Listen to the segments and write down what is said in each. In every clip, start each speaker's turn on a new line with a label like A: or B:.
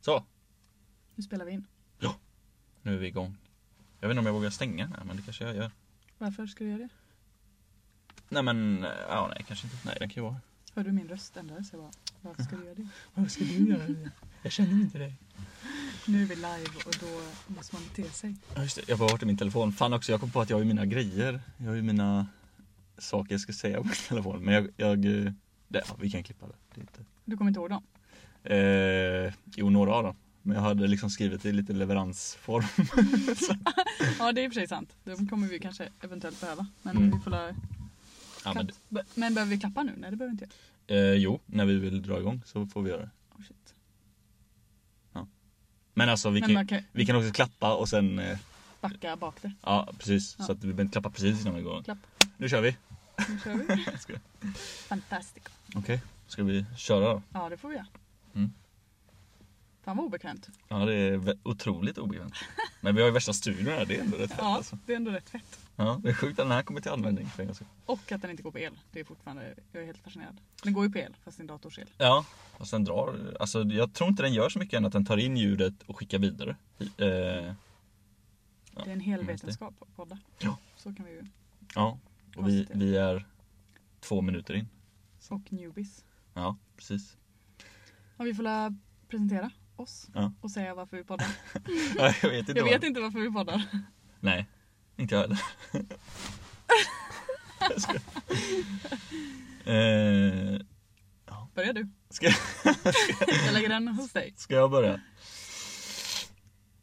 A: Så,
B: Nu spelar vi in.
A: nu är vi igång. Jag vet inte om jag vågar stänga den här, men det kanske jag gör.
B: Varför ska du göra det?
A: Nej men, eh, ja nej kanske inte. Nej den kan ju vara.
B: Hörde du min röst ändrades? Jag bara, varför ska du göra det?
A: Varför ska du göra det? Jag känner inte dig.
B: Nu är vi live och då måste man bete sig.
A: Ja just det, jag har varit i min telefon. Fan också, jag kom på att jag har ju mina grejer. Jag har ju mina saker jag ska säga på min telefon. Men jag, jag eh, det, ja, vi kan klippa det. det är inte.
B: Du kommer inte ihåg dem?
A: Eh, jo, några av dem. Men jag hade liksom skrivit det i lite leveransform.
B: Ja, det är i och för sig sant. De kommer vi kanske eventuellt behöva. Men
A: Mm.
B: vi får la...
A: Ja, men,
B: klapp- Be- Men behöver vi klappa nu? Nej, det behöver vi inte göra.
A: eh, jo, när vi vill dra igång så får vi göra det.
B: Oh, shit.
A: Men alltså vi
B: Men
A: kan,
B: man kan
A: vi kan också klappa och sen eh,
B: backa bak det.
A: Ja precis,
B: Ja.
A: så att vi behöver inte klappa precis innan vi går igång.
B: Klapp.
A: Nu kör vi!
B: Nu kör vi.
A: Jag skojar.
B: Fantastiskt.
A: Okej, ska vi köra då?
B: Ja, det får vi göra.
A: Mm.
B: Fan vad obekvämt.
A: Ja det är vä- otroligt obekvämt. Men vi har ju värsta studion här, det är ändå rätt fett
B: Ja,
A: alltså.
B: det är ändå rätt fett.
A: Ja, det är sjukt att den här kommer till användning för en gångs skull.
B: Och att den inte går på el. Det är fortfarande, jag är helt fascinerad. Den går ju på el, fast det är en dators el.
A: Ja, och sen drar, alltså jag tror inte den gör så mycket än att den tar in ljudet och skickar vidare. I- Eh, Ja,
B: Det är en hel
A: mm, just det.
B: vetenskap att podda.
A: Ja.
B: Så kan vi ju.
A: ja, och vi,
B: Konstigt.
A: vi är två minuter in.
B: Och newbies.
A: Ja, precis.
B: Ja, vi får la presentera oss
A: Ja.
B: och säga varför vi poddar.
A: Ja, jag vet inte.
B: Jag
A: vad-
B: vet inte varför vi poddar.
A: Nej, inte jag heller. Jag skojar. eh,
B: Börja du.
A: Ska-
B: jag lägger den hos dig.
A: Ska jag börja?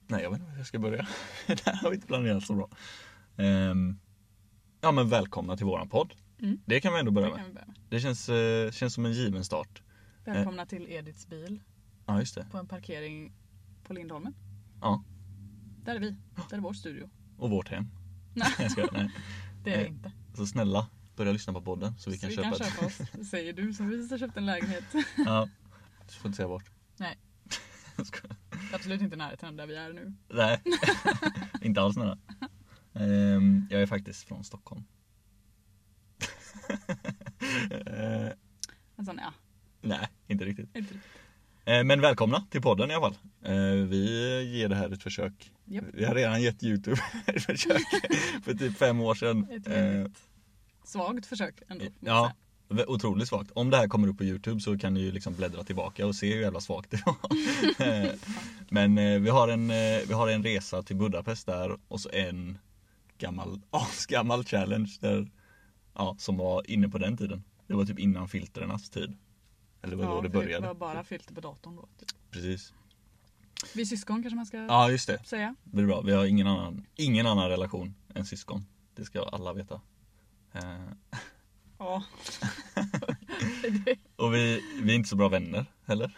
A: Nej, jag vet inte var jag ska börja. Det här har vi inte planerat så bra. Ehm, ja, men välkomna till våran podd.
B: Mm.
A: Det kan vi ändå börja
B: Det
A: med.
B: kan vi börja med.
A: Det känns, eh, känns som en given start. Eh.
B: Välkomna till Ediths bil
A: Ja, just det.
B: på en parkering på Lindholmen.
A: Ja.
B: Där är vi. Där är vår studio.
A: Och vårt hem.
B: Nej.
A: Jag skojar, nej.
B: Det är det
A: Eh,
B: inte.
A: Så snälla, börja lyssna på podden så vi kan
B: Så
A: köpa
B: kan
A: ett.
B: köpa oss, det säger du som precis har köpt en lägenhet.
A: Ja. Du får inte säga vart.
B: Nej.
A: Jag skojar.
B: Absolut inte i närheten av där vi är nu.
A: nej, inte alls nära. Ehm, jag är faktiskt från Stockholm. Eh,
B: Alltså, ja,
A: nej, inte riktigt.
B: inte riktigt.
A: Eh, Men välkomna till podden i alla fall. Eh, Vi ger det här ett försök.
B: Japp.
A: Vi har redan gett Youtube ett försök för typ fem år sedan.
B: Ett
A: Eh,
B: väldigt svagt försök ändå. måste jag
A: Ja, v- otroligt svagt. Om det här kommer upp på Youtube så kan ni ju liksom bläddra tillbaka och se hur jävla svagt det var. Eh, Men eh, vi har, en, eh, vi har en resa till Budapest där och så en gammal, asgammal challenge där, ja, som var inne på den tiden. Det var typ innan filtrernas tid. Eller det var
B: Ja,
A: då det
B: för
A: började.
B: Det var bara filter på datorn då. Typ.
A: Precis.
B: Vi är syskon kanske man ska
A: Ja, just det.
B: säga.
A: Det blir bra. Vi har ingen annan, ingen annan relation än syskon. Det ska alla veta. Eh,
B: Ja.
A: och vi, vi är inte så bra vänner heller.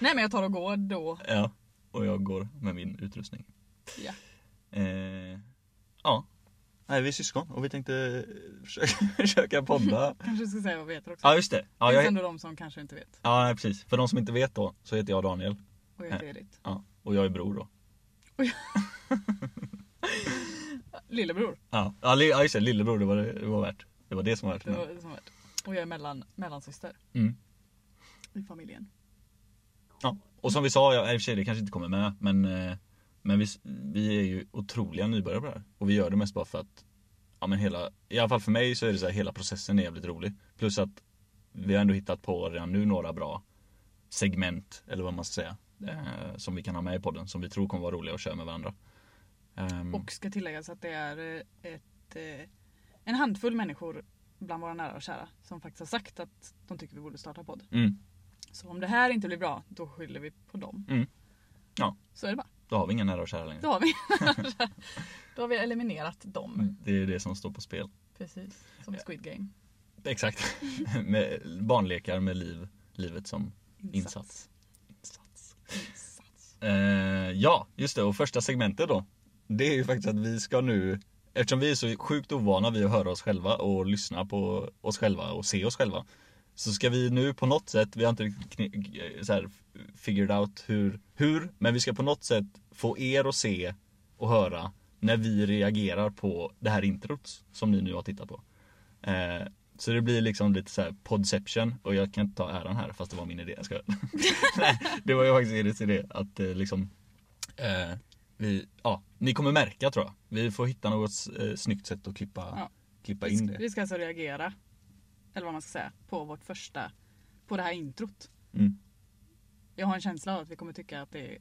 B: Nej men jag tar och går då.
A: Ja. Och jag går med min utrustning.
B: Ja.
A: Eh, ja. Nej, vi är syskon och vi tänkte eh, försöka, försöka podda. Liksom
B: Kanske ska säga vad vi heter också.
A: Ja, just det. Ja,
B: Det finns
A: jag,
B: ändå de som kanske inte vet.
A: ja, nej, precis. För de som inte vet då så heter jag Daniel.
B: Och jag heter Edith.
A: Ja. Och jag är bror då.
B: Lillebror.
A: Ja, ja li- ja, just det. Lillebror, det var, det, det var värt. Det var det som var värt.
B: Det var det som var. Och jag är mellan, mellansyster
A: Mm.
B: i familjen.
A: Ja, och som vi sa, ja, i och för sig det kanske inte kommer med men, eh, men vi, vi är ju otroliga nybörjare på det här. Och vi gör det mest bara för att, ja men hela, i alla fall för mig så är det så här, hela processen är jävligt rolig. Plus att vi har ändå hittat på redan nu några bra segment, eller vad man ska säga, eh, som vi kan ha med i podden som vi tror kommer vara roliga att köra med varandra. Ehm,
B: Och ska tilläggas att det är eh, ett, eh, en handfull människor bland våra nära och kära som faktiskt har sagt att de tycker vi borde starta podd.
A: mm,
B: Så om det här inte blir bra, då skyller vi på dem.
A: Mm. Ja.
B: Så är det bara.
A: då har vi inga nära och kära längre.
B: Då har vi, då har vi eliminerat dem.
A: Det är det som står på spel.
B: Precis, som i Squid Game.
A: Exakt. med barnlekar med liv, livet som Insats. insats.
B: Insats.
A: Eh, ja, just det. Och första segmentet då. Det är ju faktiskt att vi ska nu, eftersom vi är så sjukt ovana vid att höra oss själva och lyssna på oss själva och se oss själva. Så ska vi nu på något sätt, vi har inte riktigt kni- eh, så här, figured out hur, hur, men vi ska på något sätt få er att se och höra när vi reagerar på det här introt som ni nu har tittat på. Eh, Så det blir liksom lite så här podception och jag kan inte ta äran här fast det var min idé. Jag skojar. Nej, det var ju faktiskt Edits idé att eh, liksom eh, vi, ja, ni kommer märka tror jag. Vi får hitta något eh, snyggt sätt att klippa,
B: Ja.
A: klippa
B: Vi
A: in
B: ska,
A: det.
B: vi ska alltså reagera, eller vad man ska säga, på vårt första, på det här introt.
A: Mm.
B: Jag har en känsla av att vi kommer tycka att det är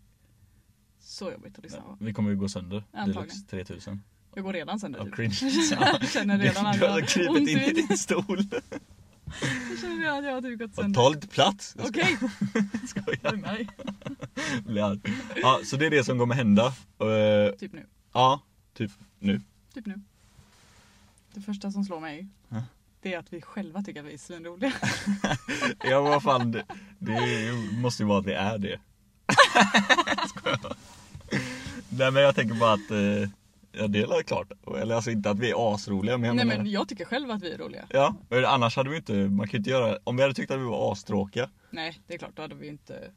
B: så jobbigt att lyssna på.
A: Vi kommer ju gå sönder
B: Antagligen.
A: deluxe 3000.
B: Jag går redan sönder
A: Av
B: typ.
A: cringe.
B: Jag känner
A: Du, du
B: redan att jag
A: har
B: har
A: krypit
B: ont
A: in i
B: i
A: din stol.
B: Jag känner redan att jag har typ gått
A: Och
B: sönder.
A: Ta lite plats. Jag
B: Okej,
A: skojar.
B: lugna dig.
A: Blir arg. Ja, så det är det som kommer hända. Eh,
B: Typ nu.
A: Ja, typ nu.
B: Typ nu. Det första som slår mig,
A: Ja.
B: det är att vi själva tycker att vi är svinroliga.
A: Ja vad fan, det, det måste ju vara att vi är det. Skojar bara. Nej men jag tänker bara att, eh, ja det är väl klart. Eller alltså inte att vi är asroliga men jag
B: Nej
A: menar,
B: men jag tycker själv att vi är roliga.
A: Ja, men annars hade vi inte, man kan ju inte göra, om vi hade tyckt att vi var astråkiga.
B: Nej, det är klart, då hade vi ju inte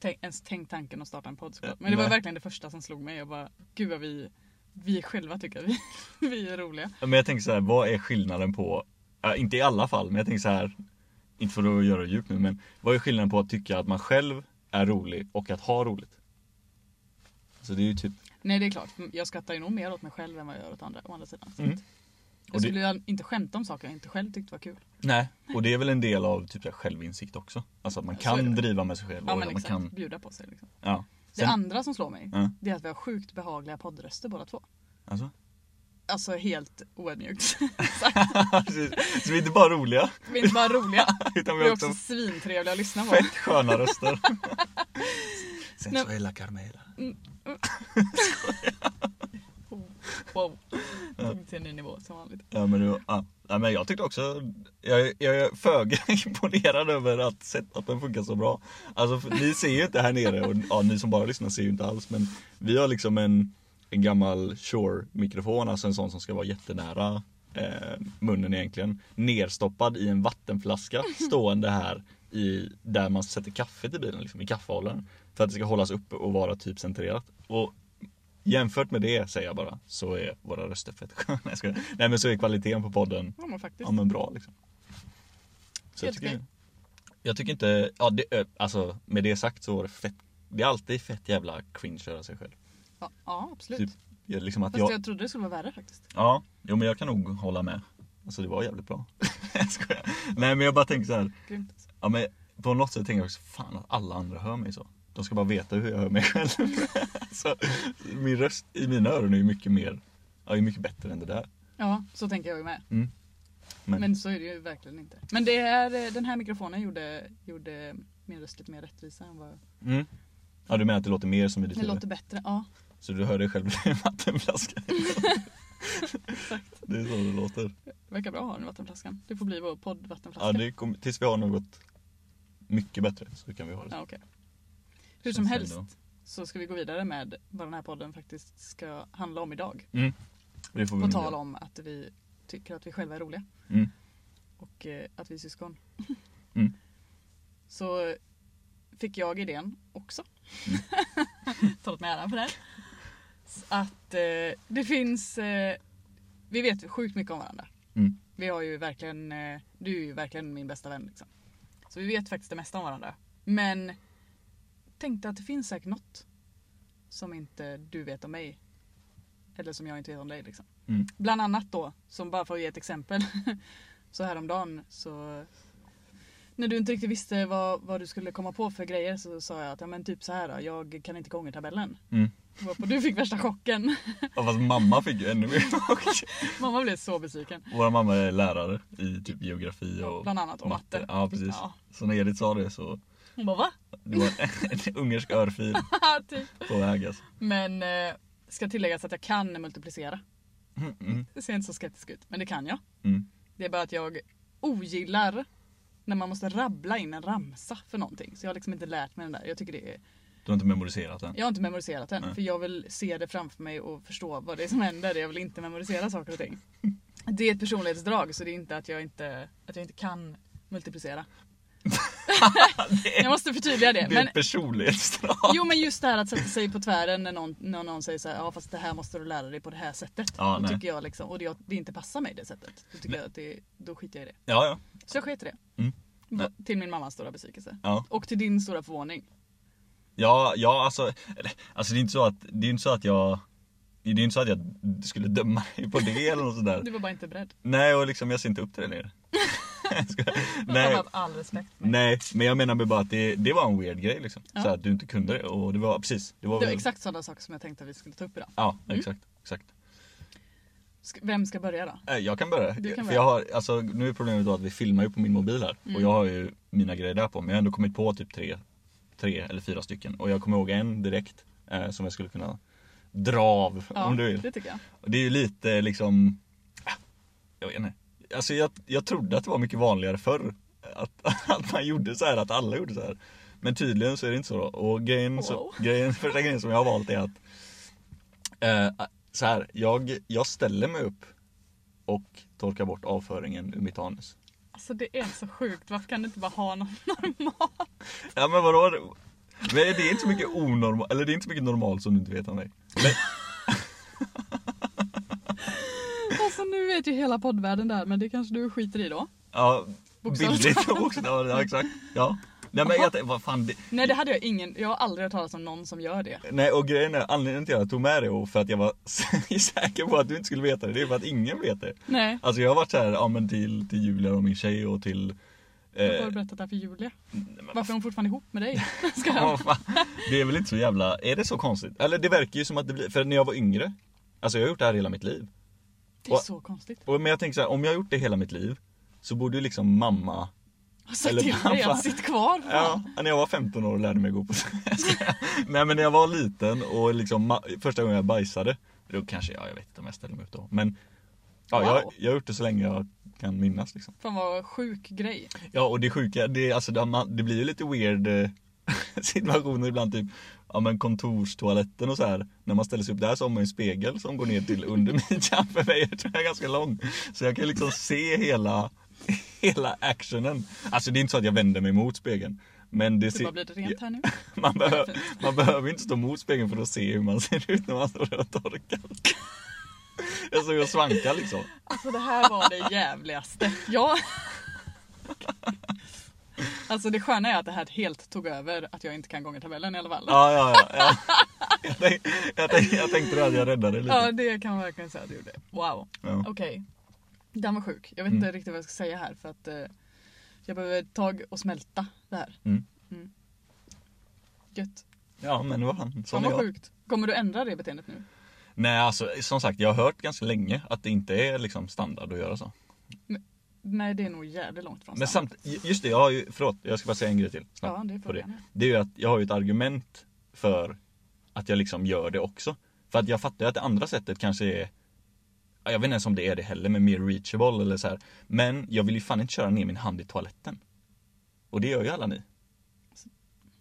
B: tänk, ens tänkt tanken att starta en podd. såklart.
A: Ja,
B: Men det var
A: nej.
B: verkligen det första som slog mig. Jag bara, gud vad vi, vi själva tycker att vi, vi är roliga.
A: Men jag tänker så här, vad är skillnaden på, ja, inte i alla fall, men jag tänker så här, inte för att göra det djupt nu men, vad är skillnaden på att tycka att man själv är rolig och att ha roligt? Så det är ju typ,
B: Nej, det är klart. Jag skrattar ju nog mer åt mig själv än vad jag gör åt andra, å andra sidan. Så
A: Mm.
B: att
A: Och det-
B: Jag skulle ju inte skämta om saker jag inte själv tyckte var kul.
A: nej. Och det är väl en del av typ så här självinsikt också. Alltså att man
B: Så är det.
A: kan driva med sig själv.
B: Ja,
A: och
B: men
A: man
B: exakt.
A: kan,
B: Bjuda på sig. Liksom.
A: ja.
B: det
A: Sen,
B: andra som slår mig,
A: Ja.
B: det är att vi har sjukt behagliga poddröster båda två.
A: alltså,
B: Alltså helt oödmjukt.
A: precis. så vi är inte bara roliga,
B: vi är inte bara roliga,
A: utan
B: vi
A: vi
B: är
A: har också
B: också svintrevliga att lyssna på.
A: fett sköna röster. Sensuella Carmela.
B: Wow. Tog till en ny nivå som vanligt.
A: Ja men, det, ja. ja, men jag tyckte också, jag, jag är föga imponerad över att setupen funkar så bra. Alltså för, ni ser ju inte här nere och ja, ni som bara lyssnar ser ju inte alls men vi har liksom en, en gammal Shure-mikrofon, alltså en sån som ska vara jättenära eh, munnen egentligen. Nerstoppad i en vattenflaska stående här i, där man sätter kaffet i bilen, liksom, i kaffehållaren. För att det ska hållas uppe och vara typ centrerat. Och Jämfört med det säger jag bara så är våra röster fett sköna. Nej, jag skojar. Nej men så är kvaliteten på podden
B: Ja men faktiskt.
A: ja, men bra liksom. Så jag
B: Helt
A: tycker,
B: okej.
A: jag tycker inte, ja, det, ö, alltså med det sagt så är det fett, det är alltid fett jävla cringe att höra sig själv.
B: Ja, ja absolut.
A: Typ, jag, liksom att
B: Fast
A: jag,
B: jag trodde det skulle vara värre faktiskt.
A: ja, jo, men jag kan nog hålla med. Alltså det var jävligt bra. jag skojar. Nej men jag bara tänker så här,
B: Grymt. alltså.
A: ja men på något sätt tänker jag också fan att alla andra hör mig så. De ska bara veta hur jag hör mig själv. så, min röst i mina öron är ju mycket mer, ja, är mycket bättre än det där.
B: Ja, så tänker jag ju med.
A: Mm. Men-
B: Men. så är det ju verkligen inte. Men det är, eh, den här mikrofonen gjorde, gjorde min röst lite mer rättvisa än vad...
A: Mm. Ja du menar att det låter mer som i ditt
B: Den
A: huvud?
B: låter bättre, ja.
A: Så du hör dig själv i en vattenflaska? Det är så det låter.
B: Det verkar bra att ha den vattenflaskan. Det får bli vår poddvattenflaska.
A: Ja, det kom, tills vi har något mycket bättre så kan vi ha det.
B: Ja, okej. Hur
A: Känns
B: som
A: det
B: helst
A: ändå.
B: så ska vi gå vidare med vad den här podden faktiskt ska handla om idag.
A: Det får vi
B: På
A: nog
B: tal
A: göra.
B: om att vi tycker att vi själva är roliga
A: Mm.
B: och eh, att vi är syskon.
A: Mm.
B: Så eh, fick jag idén också. Ta åt mig äran för det. Så Att eh, det finns, eh, vi vet sjukt mycket om varandra.
A: Mm.
B: Vi har ju verkligen, eh, du är ju verkligen min bästa vän liksom. Så vi vet faktiskt det mesta om varandra. Men tänkte att det finns säkert något som inte du vet om mig. Eller som jag inte vet om dig liksom.
A: Mm.
B: Bland annat då, som bara för att ge ett exempel. så häromdagen så när du inte riktigt visste vad, vad du skulle komma på för grejer så sa jag att ja, men typ så här då, jag kan inte gå ångertabellen.
A: Mm.
B: Varpå du fick värsta chocken.
A: Ja, fast mamma fick ju ännu mer chock.
B: Mamma blev så besviken.
A: Våra mamma är lärare i typ geografi och
B: Bland annat om matte.
A: Ja precis.
B: Ja.
A: Så när Edith sa det så
B: Hon bara va?
A: det var en ungersk örfil
B: typ.
A: på väg alltså.
B: Men eh, ska tilläggas att jag kan multiplicera.
A: Mm, mm,
B: Det ser inte så skeptisk ut, men det kan jag.
A: mm.
B: Det är bara att jag ogillar när man måste rabbla in en ramsa för någonting. Så jag har liksom inte lärt mig den där. Jag, tycker det är,
A: Du har inte memoriserat den?
B: jag har inte memoriserat den.
A: Nej.
B: För jag vill se det framför mig och förstå vad det är som händer. Jag vill inte memorisera saker och ting. Det är ett personlighetsdrag så det är inte att jag inte, att jag inte kan multiplicera. Jag måste förtydliga det.
A: Det är
B: Men,
A: ett personlighetsdrag.
B: jo men just det här att sätta sig på tvären när någon, när någon säger så här, ja fast det här måste du lära dig på det här sättet.
A: Ja,
B: då
A: nej.
B: tycker jag liksom, och det, det inte passar mig det sättet. Då, tycker jag att det, då skiter jag i det.
A: Ja, ja.
B: Så jag sket i det.
A: Mm.
B: Va- Till min mammas stora besvikelse.
A: Ja.
B: Och till din stora förvåning.
A: Ja, ja alltså, eller, alltså det är inte så att, det är inte så att jag det är inte så att jag skulle döma dig på det eller något sådär.
B: Du var bara inte beredd.
A: Nej och liksom jag ser inte upp till det längre. Jag skojar.
B: Jag
A: nej,
B: har haft all respekt. för mig.
A: nej, men jag menar med bara att det, det var en weird grej liksom.
B: Ja.
A: Så att du inte kunde det och det var precis. Det var
B: Det
A: väl,
B: var exakt sådana saker som jag tänkte att vi skulle ta upp idag.
A: Ja, exakt. exakt.
B: Ska- Vem ska börja då?
A: Eh, Jag kan börja.
B: Du kan Mm.
A: För jag har, alltså, nu är problemet då att vi filmar ju på min mobil här och jag har ju mina grejer där på men jag har ändå kommit på typ tre, tre eller fyra stycken och jag kommer ihåg en direkt eh, som jag skulle kunna dra av
B: Ja,
A: om du vill.
B: det tycker jag.
A: Och Det är ju lite liksom... ah, Jag vet inte. Alltså jag, jag trodde att det var mycket vanligare förr. Att, att man gjorde så här, att alla gjorde så här. Men tydligen så är det inte så. Då. Och grejen, så,
B: Wow.
A: grejen, första grejen som jag har valt är att... Eh, så här, jag, jag ställer mig upp och torkar bort avföringen ur mitt anus.
B: Alltså det är så sjukt, varför kan du inte bara ha något normalt?
A: Ja men vadå? Men det är inte så mycket onormalt, eller det är inte så mycket normalt som du inte vet om mig. Men,
B: Alltså nu vet ju hela poddvärlden där men det kanske du skiter i då?
A: ja,
B: Bokstavligt
A: billigt och bokstavligt, ja exakt. Ja. Nej men jag, vad fan, det,
B: Nej det hade jag ingen, jag har aldrig hört talas om någon som gör det.
A: Nej och grejen är, anledningen till att jag tog med det och för att jag var säker på att du inte skulle veta det, det är för att ingen vet det.
B: Nej,
A: Alltså jag har varit såhär, ja men till, till Julia och min tjej och till... Eh,
B: varför har du berättat det här för Julia? Varför är hon fortfarande ihop med dig? Ska jag?
A: vad fan. det är väl inte så jävla, är det så konstigt? Eller det verkar ju som att det blir, för när jag var yngre, alltså jag har gjort det här hela mitt liv.
B: Det är så konstigt.
A: Och, men jag tänker så här, om jag har gjort det hela mitt liv så borde ju liksom mamma,
B: Har sagt
A: Eller
B: till dig
A: pappa.
B: att sitt kvar.
A: ja,
B: fan.
A: när jag var 15 år och lärde mig gå på Nej men när jag var liten och liksom ma- första gången jag bajsade, då kanske, ja jag vet inte om jag ställde mig upp då, men Ja, jag,
B: Wow.
A: jag har gjort det så länge jag kan minnas liksom.
B: Fan vad sjuk grej.
A: Ja och det sjuka, det, är- alltså, det, har man, det blir ju lite weird eh, situationer ibland typ Ja men kontorstoaletten och så här. När man ställer sig upp där så har man ju en spegel som går ner till under midjan för mig. Jag tror jag är ganska lång. Så jag kan ju liksom se hela, hela actionen. Alltså det är inte så att jag vänder mig mot spegeln. Men det
B: Det
A: ser,
B: bara blir det rent här nu.
A: man, behöver, man behöver inte stå mot spegeln för att se hur man ser ut när man står där och torkar. Jag såg och svankar liksom.
B: Alltså det här var det jävligaste. Ja. Alltså det sköna är att det här helt tog över att jag inte kan gångertabellen i alla fall.
A: Ja, ja, ja. ja. Jag, tänk, jag, tänk, jag tänkte det att jag räddade det
B: Ja
A: lite.
B: det kan man verkligen säga att du gjorde. Wow.
A: Ja.
B: Okej. Den var sjuk. Jag vet
A: Mm.
B: inte riktigt vad jag ska säga här för att eh, jag behöver ett tag och smälta det här.
A: Mm.
B: Mm. Gött.
A: ja, men vad fan.
B: Fan
A: Sån är
B: vad
A: jag.
B: sjukt. Kommer du ändra det beteendet nu?
A: Nej, alltså som sagt, jag har hört ganska länge att det inte är liksom standard att göra så.
B: Nej det är nog jävligt långt från
A: Men
B: standard.
A: samt, just det, jag har ju, förlåt, jag ska bara säga en grej till. snabbt
B: Ja, det är
A: på det.
B: frågan.
A: det är ju att jag har ju ett argument för att jag liksom gör det också. För att jag fattar ju att det andra sättet kanske är ja, jag vet inte ens om det är det heller, men mer reachable eller så här. Men jag vill ju fan inte köra ner min hand i toaletten. Och det gör ju alla ni.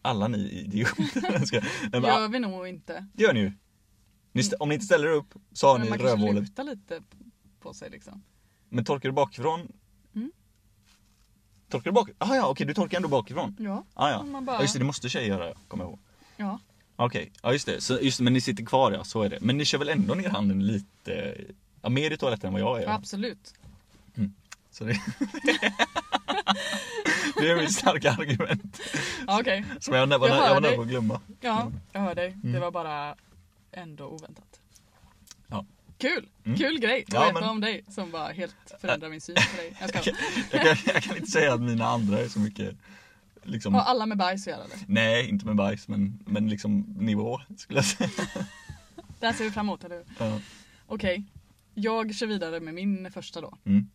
A: Alla ni idioter. Jag skojar. Nej, men,
B: Gör vi nog inte.
A: Det gör ni ju. Ni st- om ni inte ställer er upp så har
B: Men
A: ni
B: man kanske
A: rövhålet.
B: lutar lite på sig liksom.
A: Men torkar du bakifrån?
B: Mm.
A: Torkar du bakifrån? Ah, ja, okej du torkar ändå bakifrån.
B: Ja.
A: Ah, ja.
B: Man bara-
A: ja, just det, det måste tjejer göra, kommer jag ihåg.
B: Ja.
A: Okej, ja just det. Så, just, det, men ni sitter kvar ja, så är det. Men ni kör väl ändå ner handen lite, ja, mer i toaletten än vad jag är?
B: Absolut.
A: Så det, det är mitt starka argument.
B: Ja, Okej,
A: Som jag var nära
B: Jag hör
A: jag var nära
B: dig.
A: på att glömma.
B: ja, jag hör dig. Det
A: Mm.
B: var bara ändå oväntat.
A: Ja.
B: Kul!
A: Mm.
B: Kul grej att
A: Ja,
B: veta
A: men-
B: om dig som bara helt förändrar min syn på dig. Jag ska...
A: Jag kan, jag kan inte säga att mina andra är så mycket, liksom.
B: Har alla med bajs att göra eller?
A: Nej, inte med bajs men, men liksom nivå skulle jag säga.
B: Det här ser vi fram emot, eller hur?
A: Ja.
B: Okej, jag kör vidare med min första då.
A: Mm.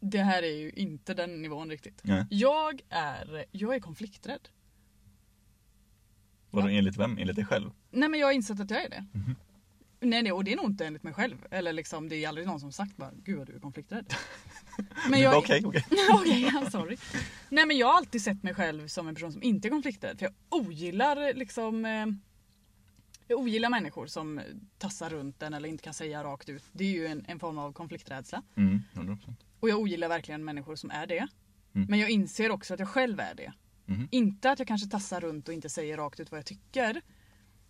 B: Det här är ju inte den nivån riktigt.
A: Nej.
B: Jag är, jag är konflikträdd.
A: Vadå enligt vem? Enligt dig själv?
B: Nej men jag har insett att jag är det.
A: Mhm.
B: Nej, nej, och det är nog inte enligt mig själv. Eller liksom, det är aldrig någon som sagt bara, gud vad du är konflikträdd. Men
A: Du bara,
B: jag,
A: Okej, okej.
B: Okej, I'm sorry. Nej men jag har alltid sett mig själv som en person som inte är konflikträdd. För jag ogillar liksom... Eh, jag ogillar människor som eh, tassar runt en eller inte kan säga rakt ut. Det är ju en, en form av konflikträdsla.
A: Mm, 100%.
B: Och jag ogillar verkligen människor som är det.
A: Mm.
B: Men jag inser också att jag själv är det.
A: Mhm.
B: Inte att jag kanske tassar runt och inte säger rakt ut vad jag tycker.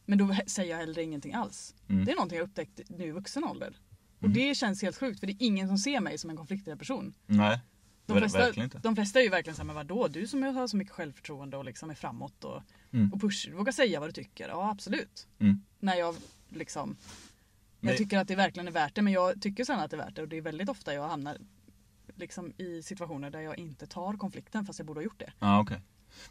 B: Men då he- säger jag hellre ingenting alls.
A: Mm.
B: Det är någonting jag upptäckt nu i vuxen ålder. Och
A: Mhm.
B: det känns helt sjukt för det är ingen som ser mig som en konflikträdd person.
A: Nej.
B: De
A: Ver-
B: flesta,
A: Verkligen inte.
B: de flesta är ju verkligen såhär, men vadå? Du som har så mycket självförtroende och liksom är framåt och,
A: Mm.
B: och push, vågar säga vad du tycker. Ja, absolut.
A: Mm.
B: När jag liksom... Jag
A: Nej.
B: tycker att det verkligen är värt det, men jag tycker sen att det är värt det. Och det är väldigt ofta jag hamnar liksom i situationer där jag inte tar konflikten fast jag borde ha gjort det.
A: Ja, okej.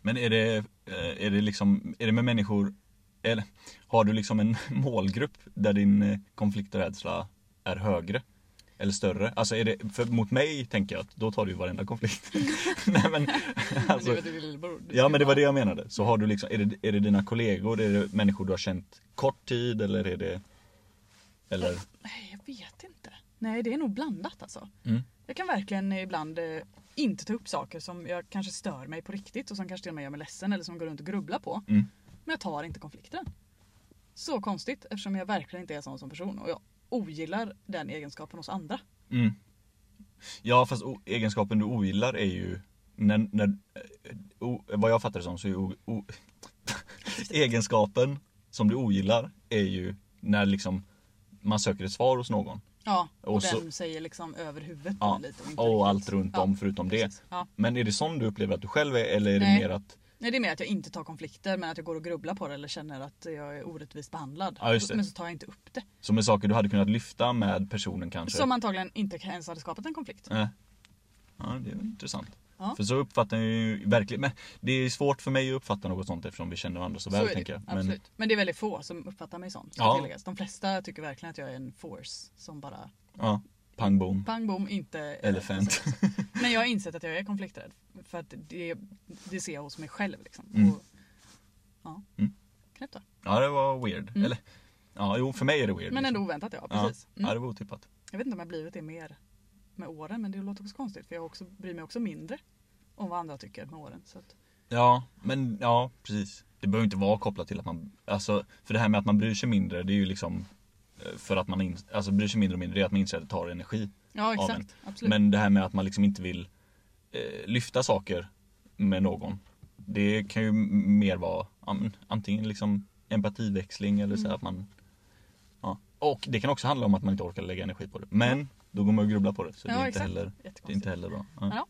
A: Men är det, eh, är det liksom, är det med människor, eller har du liksom en målgrupp där din eh, konflikträdsla är högre? Eller större? Alltså är det, för mot mig tänker jag att då tar du ju varenda konflikt. Nej men, alltså,
B: men det, var din lillebror. Du
A: ja
B: ska
A: men det var det
B: bara-
A: jag menade. Så har du liksom, är det, är det dina kollegor, är det människor du har känt kort tid eller är det, eller?
B: Nej, jag vet inte. Nej, det är nog blandat alltså.
A: Mm.
B: Jag kan verkligen ibland eh, inte ta upp saker som jag kanske stör mig på riktigt och som kanske till och med gör mig ledsen eller som jag går runt och grubblar på.
A: Mm.
B: Men jag tar inte konflikten. Så konstigt eftersom jag verkligen inte är sån som person och jag ogillar den egenskapen hos andra.
A: Mm. Ja fast o- egenskapen du ogillar är ju när, när, eh, o, Vad jag fattar det som så är ju o, o, Egenskapen som du ogillar är ju när liksom man söker ett svar hos någon.
B: Ja, och,
A: Och
B: den
A: så-
B: säger liksom över huvudet på
A: Ja,
B: en lite. inte riktigt.
A: Och allt runt om förutom det.
B: precis. Ja.
A: Men är det sån du upplever att du själv är eller är det
B: Nej.
A: mer att
B: Nej, det är mer att jag inte tar konflikter men att jag går och grubblar på det eller känner att jag är orättvist behandlad.
A: Ja, just det.
B: Men så tar jag inte upp det.
A: som är saker du hade kunnat lyfta med personen kanske?
B: Som antagligen inte ens hade skapat en konflikt.
A: Nej. Ja, det är väl intressant.
B: Ja.
A: För så uppfattar jag ju verkligen, men det är svårt för mig att uppfatta något sånt eftersom vi känner varandra så väl
B: är
A: tänker jag.
B: det.
A: Men-
B: Absolut. Men... det är väldigt få som uppfattar mig sån. ska
A: Ja.
B: tilläggas. De flesta tycker verkligen att jag är en force som bara
A: Ja, pang bom.
B: pang bom inte är-
A: Elephant.
B: Men jag har insett att jag är konflikträdd. För att det, det ser jag hos mig själv liksom.
A: Mm.
B: Och, ja.
A: Mm.
B: Knäppt va?
A: Ja det var weird.
B: Mm.
A: Eller, ja jo för mig är det weird.
B: Men
A: liksom.
B: ändå oväntat ja,
A: Ja,
B: precis.
A: ja
B: Mm.
A: det var otippat.
B: Jag vet inte om jag blivit det mer med åren men det låter också konstigt för jag också, bryr mig också mindre om vad andra tycker med åren. Så att,
A: Ja, men ja precis. Det behöver inte vara kopplat till att man, alltså för det här med att man bryr sig mindre det är ju liksom eh, för att man in, alltså bryr sig mindre och mindre det är att man inser att det tar energi.
B: ja
A: men-
B: exakt, absolut.
A: Men det här med att man liksom inte vill eh, lyfta saker med någon. Det kan ju m- mer vara ja, men, antingen liksom empativäxling eller så här
B: Mm.
A: att man ja. Och det kan också handla om att man inte orkar lägga energi på det. Men då går man och grubblar på det. Så
B: Ja,
A: det, är inte
B: exakt.
A: heller, det är
B: Jättekonstigt.
A: inte heller bra. Ja.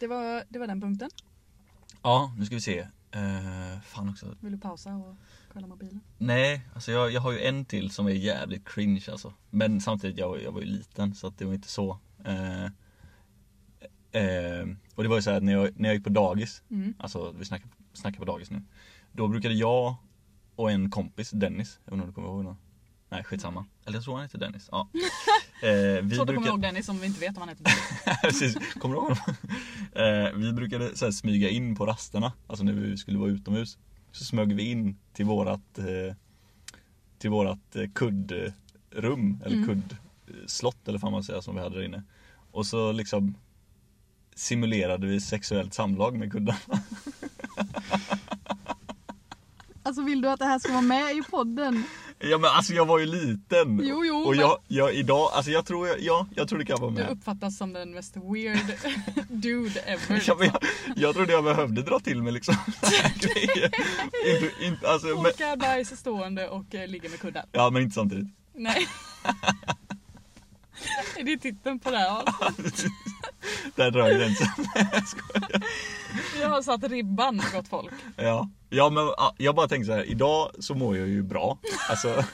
B: Det, var, det var den punkten.
A: Ja, nu ska vi se. Eh, fan också.
B: Vill du pausa och kolla mobilen?
A: Nej, alltså jag, jag har ju en till som är jävligt cringe alltså. Men samtidigt, jag, jag var ju liten så att det var inte så. Eh, eh, och det var ju så här att när jag, när jag gick på dagis,
B: Mm.
A: alltså vi snackar, snackar på dagis nu. Då brukade jag och en kompis, Dennis, jag vet inte om du kommer ihåg honom? Nej, skitsamma. Eller jag tror han heter Dennis. Ja. Eh, vi
B: Svårt att komma
A: brukade-
B: ihåg Dennis om vi inte vet om han heter Dennis.
A: Precis, kommer du ihåg honom? eh, vi brukade så här smyga in på rasterna, alltså när vi skulle vara utomhus. Så smög vi in till vårat, eh, till vårat eh, kuddrum, eller
B: Mm.
A: kuddslott eller vad man säger som vi hade där inne. Och så liksom simulerade vi sexuellt samlag med kuddarna.
B: Alltså vill du att det här ska vara med i podden?
A: Ja men alltså jag var ju liten!
B: Jo, jo,
A: och jag, jag idag, alltså jag tror, jag, ja, jag tror det kan vara
B: Du
A: med.
B: uppfattas som den mest weird dude ever.
A: Ja, men jag, jag trodde jag behövde dra till mig liksom. grejer. inte, inte, alltså, men,
B: Torkar, bajs stående och eh, ligger med kuddar.
A: Ja men inte samtidigt.
B: Nej. Är det titeln på det här?
A: Där drar jag gränsen.
B: Jag har satt ribban gott folk.
A: Ja. ja men ja, jag bara tänker så här. idag så mår jag ju bra. Alltså,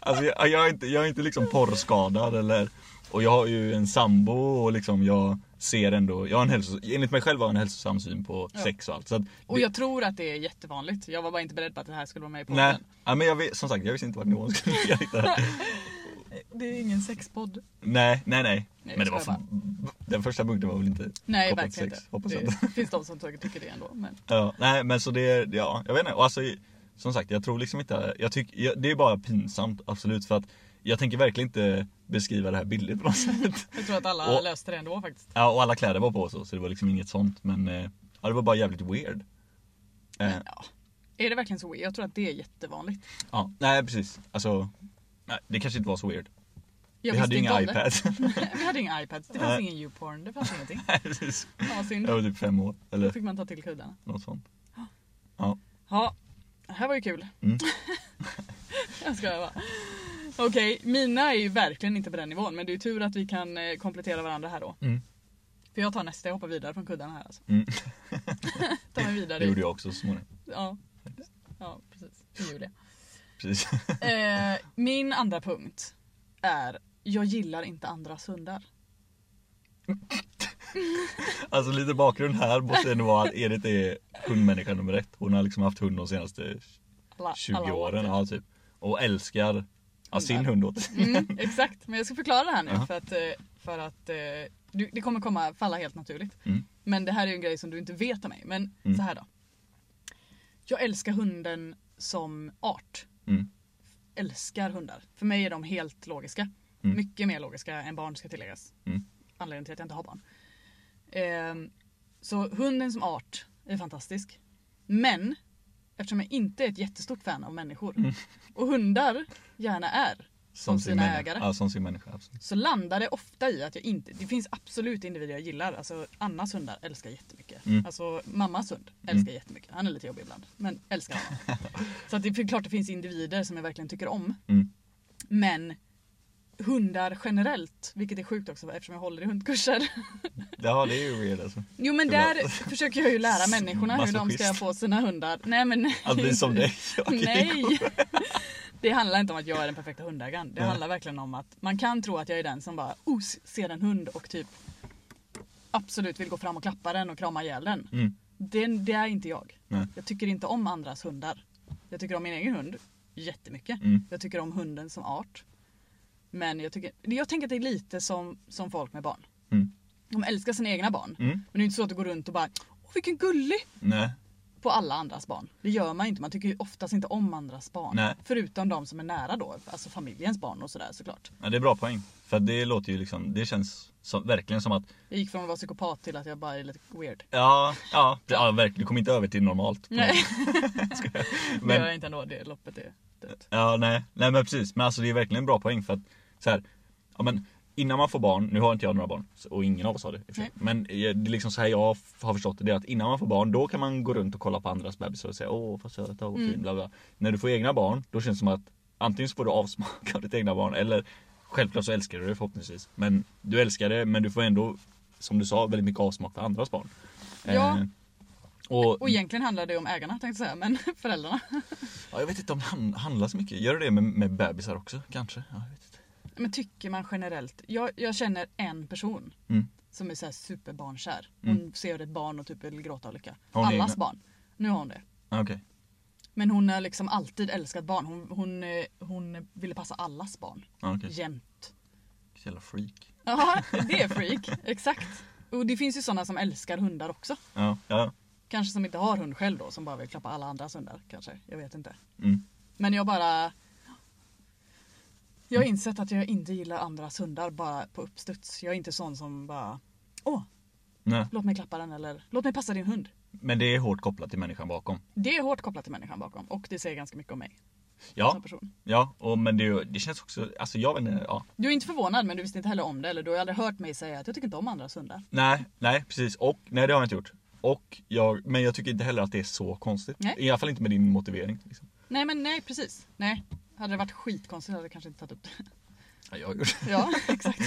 A: alltså jag, jag, är inte, jag är inte liksom porrskadad eller och jag har ju en sambo och liksom jag ser ändå, jag har en hälso, enligt mig själv har jag en hälsosam syn på
B: Ja.
A: sex och allt. Så att,
B: Och jag tror att det är jättevanligt. Jag var bara inte beredd på att det här skulle vara med i podden.
A: nej, ja, men jag vet, som sagt jag visste inte vart nivån skulle ligga riktigt. här.
B: Det är ingen sexpodd.
A: Nej, nej, nej.
B: Nej,
A: Men det
B: jag
A: var,
B: skojar
A: fan- den första punkten var väl inte
B: Nej
A: kopplat till
B: verkligen
A: sex,
B: inte.
A: hoppas jag.
B: Det finns de som tycker det ändå. Men...
A: Ja, nej men så det, det- ja, jag vet inte. Och alltså, som sagt jag tror liksom inte, jag tycker, jag, det är bara pinsamt absolut för att jag tänker verkligen inte beskriva det här billigt på något sätt.
B: Jag tror att alla
A: Och-
B: löste det ändå faktiskt.
A: Ja, och alla kläder var på så, så det var liksom inget sånt men eh, ja, det var bara jävligt weird. Eh,
B: Men, ja. Är det verkligen så weird? Jag tror att det är jättevanligt.
A: ja, nej precis. Alltså, nej, det kanske inte var så weird.
B: Jag
A: vi hade
B: visste
A: ju
B: inte
A: inga
B: om det.
A: iPads.
B: Vi hade inga iPads, det fanns
A: Nej.
B: ingen YouPorn, det fanns ingenting.
A: Nej, precis.
B: Fan vad synd.
A: Jag var typ fem år
B: Då
A: eller
B: fick man ta till kuddarna.
A: något sånt.
B: Ja, det här var ju kul.
A: Mm.
B: jag skojar bara. Okej, mina är ju verkligen inte på den nivån men det är ju tur att vi kan eh, komplettera varandra här då.
A: Mm.
B: För jag tar nästa, jag hoppar vidare från kuddarna här alltså.
A: Mm.
B: Ta mig
A: Det
B: vidare.
A: gjorde jag också så småningom.
B: Ja, ja precis. Det gjorde jag.
A: Precis.
B: Eh, min andra punkt är jag gillar inte andras hundar.
A: Alltså lite bakgrund här måste ändå vara att Edith är hundmänniska nummer ett. Hon har liksom haft hund de senaste
B: Alla,
A: 20
B: alla
A: åren. Ja, typ. Och älskar ja, sin
B: Hundar.
A: hund åt
B: Mm, exakt, men jag ska förklara det här nu
A: Ja.
B: för att, eh, för att eh, du, det kommer komma falla helt naturligt.
A: Mm.
B: Men det här är ju en grej som du inte vet om mig. Men
A: Mm.
B: så här då. Jag älskar hunden som art.
A: Mm.
B: Älskar hundar. För mig är de helt logiska.
A: Mm.
B: Mycket mer logiska än barn ska tilläggas.
A: Mm.
B: Anledningen till att jag inte har barn. Ehm, så hunden som art är fantastisk. Men eftersom jag inte är ett jättestort fan av människor
A: Mm.
B: och hundar gärna är Som sina
A: människa.
B: ägare.
A: Ja, som sin människa. Absolut.
B: så landar det ofta i att jag inte, det finns absolut individer jag gillar. Alltså Annas hundar älskar jag jättemycket.
A: Mm.
B: Alltså mammas hund älskar jag jättemycket. Han är lite jobbig ibland, men älskar honom. så att det är klart det finns individer som jag verkligen tycker om.
A: Mm.
B: Men hundar generellt, vilket är sjukt också eftersom jag håller i hundkurser.
A: Ja, det är ju weird alltså.
B: Jo men
A: Det var-
B: där försöker jag ju lära människorna hur de ska
A: Masochist.
B: få sina hundar. Nej men...
A: Att bli som dig. Okej.
B: Nej! Det handlar inte om att jag är den perfekta hundägaren. Det
A: Nej.
B: handlar verkligen om att man kan tro att jag är den som bara oh, ser en hund och typ absolut vill gå fram och klappa den och krama ihjäl den.
A: Mm.
B: Det, det är inte jag.
A: Nej.
B: Jag tycker inte om andras hundar. Jag tycker om min egen hund jättemycket.
A: Mm.
B: Jag tycker om hunden som art. Men jag, tycker, jag tänker att det är lite som, som folk med barn.
A: Mm.
B: De älskar sina egna barn.
A: Mm.
B: Men det är inte så att du går runt och bara Åh vilken gullig!
A: Nej.
B: på alla andras barn. Det gör man ju inte. Man tycker ju oftast inte om andras barn.
A: Nej.
B: Förutom de som är nära då. Alltså familjens barn och sådär såklart.
A: Ja, det är bra poäng. För att det låter ju liksom, det känns som, verkligen som att
B: Jag gick från att vara psykopat till att jag bara är lite weird.
A: Ja, ja, det- ja verkligen. Du kommer inte över till normalt.
B: Nej, det gör
A: Men,
B: jag inte ändå. Det loppet är dött.
A: ja, nej, nej men precis. Men alltså det är verkligen en bra poäng för att så här, ja, men, innan man får barn, nu har inte jag några barn så- och ingen av oss har det. i och för sig. Men eh, det är liksom så här jag f- har förstått det, det är att innan man får barn då kan man gå runt och kolla på andras bebisar och säga åh vad söta
B: Mm.
A: och fin bla bla. När du får egna barn då känns det som att antingen så får du avsmak av ditt egna barn eller självklart så älskar du det förhoppningsvis. Men du älskar det men du får ändå som du sa väldigt mycket avsmak för andras barn.
B: Ja.
A: Eh, och,
B: Och egentligen handlar det om ägarna tänkte jag säga, men föräldrarna.
A: Ja, jag vet inte om det han- handlar så mycket. Gör det det med, med bebisar också kanske? Ja, jag vet inte.
B: Men tycker man generellt. Jag, jag känner en person
A: Mm.
B: som är så här superbarnkär. Hon ser ett barn och typ vill gråta av lycka.
A: Har hon
B: Allas
A: egna?
B: barn. Nu har hon det.
A: Ah, Okej.
B: Men hon har liksom alltid älskat barn. Hon, hon, eh, hon ville passa allas barn.
A: Ah, Okej.
B: Jämt.
A: Jävla freak.
B: Ja, det är freak. Exakt. Och det finns ju sådana som älskar hundar också.
A: Ja, ja.
B: Kanske som inte har hund själv då, som bara vill klappa alla andras hundar. Kanske, jag vet inte.
A: Mm.
B: Men jag bara... Jag har insett att jag inte gillar andras hundar bara på uppstuds. Jag är inte sån som bara... Åh,
A: Nej.
B: låt mig klappa den eller låt mig passa din hund.
A: Men det är hårt kopplat till människan bakom.
B: Det är hårt kopplat till människan bakom och det säger ganska mycket om mig
A: Ja,
B: som person.
A: ja och, men det, är ju- det känns också, alltså jag vet inte, ja.
B: Du är inte förvånad men du visste inte heller om det eller du har aldrig hört mig säga att jag tycker inte om andras hundar.
A: Nej, nej precis. Och, nej det har jag inte gjort. Och jag, men jag tycker inte heller att det är så konstigt.
B: Nej.
A: I alla fall inte med din motivering. Liksom.
B: Nej men nej precis. Nej. Hade det varit skitkonstigt hade jag kanske inte tagit upp det.
A: Ja, jag har gjort.
B: Ja, exakt.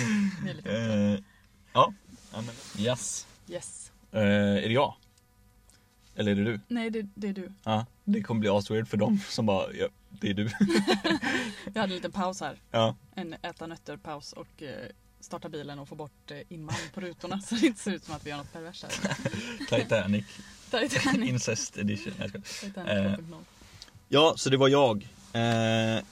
B: Det är lite oklart.
A: Eh, ja. ja men. Yes.
B: Yes.
A: Eh, är det jag? Eller är det du?
B: Nej, det, det är du.
A: Ja. Det kommer bli asweird för dem som bara, ja, det är du.
B: Jag hade en liten paus här.
A: ja.
B: En äta nötter-paus och eh, starta bilen och få bort eh, imman på rutorna så det inte ser ut som att vi gör något perverst här.
A: Titanic
B: Titanic.
A: Incest edition. Nej, jag skojar.
B: Titanic
A: Eh.
B: 2.0.
A: ja, så det var jag. Eh,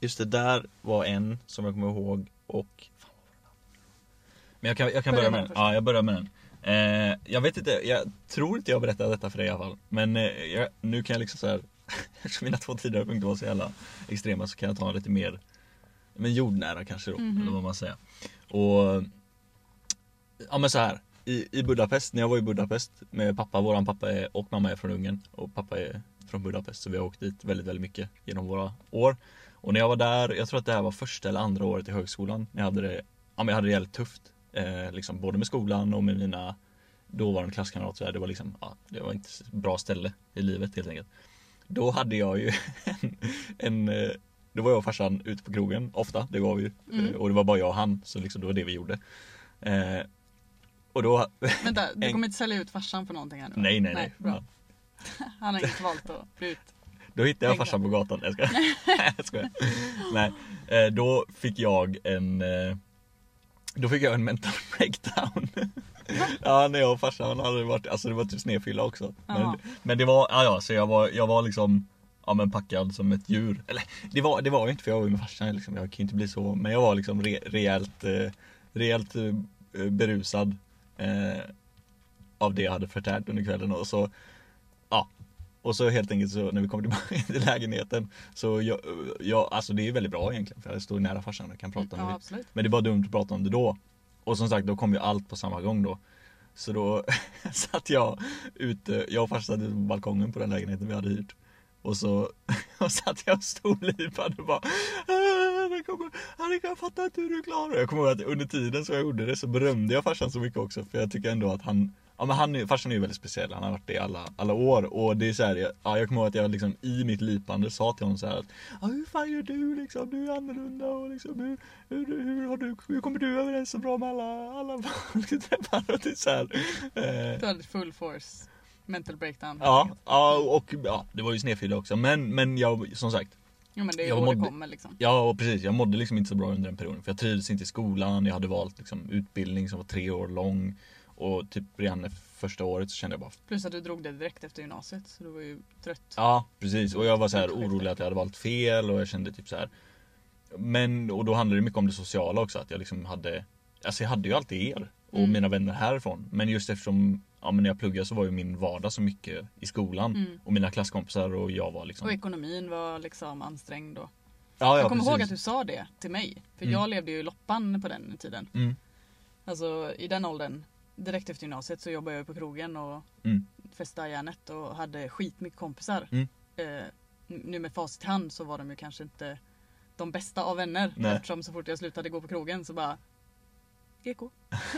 A: just det, där var en som jag kommer ihåg och... Fan, vad var den andra? Men jag kan, jag kan börja
B: Börja
A: med
B: med den
A: den.
B: först.
A: Ja, jag börjar med den. Eh, jag vet inte, jag tror inte jag berättade detta för dig i alla fall. Men eh, jag, nu kan jag liksom så här. Eftersom mina två tidigare punkter var så jävla extrema så kan jag ta lite mer men jordnära kanske då,
B: Mhm.
A: eller vad man säger. Och Ja men så här. I, I Budapest, när jag var i Budapest med pappa, våran pappa är, och mamma är från Ungern och pappa är från Budapest så vi har åkt dit väldigt väldigt mycket genom våra år. Och när jag var där, jag tror att det här var första eller andra året i högskolan. När jag hade det, ja, men jag hade det jävligt tufft. Eh, liksom, både med skolan och med mina dåvarande klasskamrater. Det var liksom, ja, det var inte ett bra ställe i livet helt enkelt. Då hade jag ju en, en eh, då var jag och farsan ute på krogen ofta, det var vi ju.
B: Mm.
A: Eh, Och det var bara jag och han, så liksom det var det vi gjorde. Eh, och då,
B: Vänta, du
A: En-
B: kommer inte sälja ut farsan för någonting här nu? va?
A: nej nej Mm. nej.
B: bra.
A: Ja.
B: Han har inte valt att bli ut.
A: Då hittade jag
B: Tänk
A: farsan på gatan. Nej, Jag skojar. Nej, jag skojar. Nej, eh, då fick jag en... eh, Då fick jag en mental breakdown. ja, när jag och farsan hade varit... Alltså det var typ snedfylla också.
B: Jaha.
A: Men, men det var... Ja, ja, så jag var, jag var liksom... Ja men packad som ett djur. Eller det var, det var jag inte för jag var ju med farsan liksom. Jag kan ju inte bli så. Men jag var liksom re, rejält, eh, rejält eh, berusad. Eh, av det jag hade förtärt under kvällen och så Ja Och så helt enkelt så när vi kom tillbaka till lägenheten Så jag, jag alltså det är väldigt bra egentligen för jag står nära farsan och kan prata om
B: Ja,
A: det
B: absolut.
A: Men det var dumt att prata om det då Och som sagt då kom ju allt på samma gång då Så då satt jag ute, jag och farsan satt ute på balkongen på den lägenheten vi hade hyrt och så och satt jag och storlipade och bara "Ah, det kommer- Annika jag fattar inte hur du klarar det. Jag kommer ihåg att under tiden som jag gjorde det så berömde jag farsan så mycket också för jag tycker ändå att han Ja men han är, farsan är ju väldigt speciell, han har varit det i alla, alla år och det är så här, jag, ja, jag kommer ihåg att jag liksom i mitt lipande sa till honom så här att ja, Hur fan gör du liksom, du är annorlunda och liksom hur, hur, hur, har du, hur kommer du överens så bra med alla, alla folk du träffar? Och det är så här, eh,
B: Du hade full force mental breakdown.
A: Ja, ja och ja, det var ju snedfylla också. Men, men jag, som sagt,
B: Jo, men det är
A: Jag
B: då det
A: mådde-
B: kommer liksom.
A: ja och precis, jag mådde liksom inte så bra under den perioden. För jag trivdes inte i skolan, jag hade valt liksom, utbildning som var tre år lång. Och typ redan det första året så kände jag bara,
B: Plus att du drog det direkt efter gymnasiet så du var ju trött.
A: ja precis. Och jag var så här orolig att jag hade valt fel och jag kände typ så här. Men, och då handlade det mycket om det sociala också. Att jag liksom hade, alltså jag hade ju alltid er och
B: Mm.
A: mina vänner härifrån. Men just eftersom Ja, men när jag pluggade så var ju min vardag så mycket i skolan
B: Mm.
A: och mina klasskompisar och jag var liksom...
B: Och ekonomin var liksom ansträngd då.
A: ja,
B: jag kommer ihåg att
A: precis.
B: du sa det till mig. För
A: Mm.
B: jag levde ju i loppan på den tiden.
A: Mm.
B: Alltså i den åldern. Direkt efter gymnasiet så jobbade jag på krogen och
A: Mm.
B: festade järnet och hade skitmycket kompisar.
A: Mm.
B: Eh, nu med facit i hand så var de ju kanske inte de bästa av vänner.
A: Nej.
B: Eftersom så fort jag slutade gå på krogen så bara GK.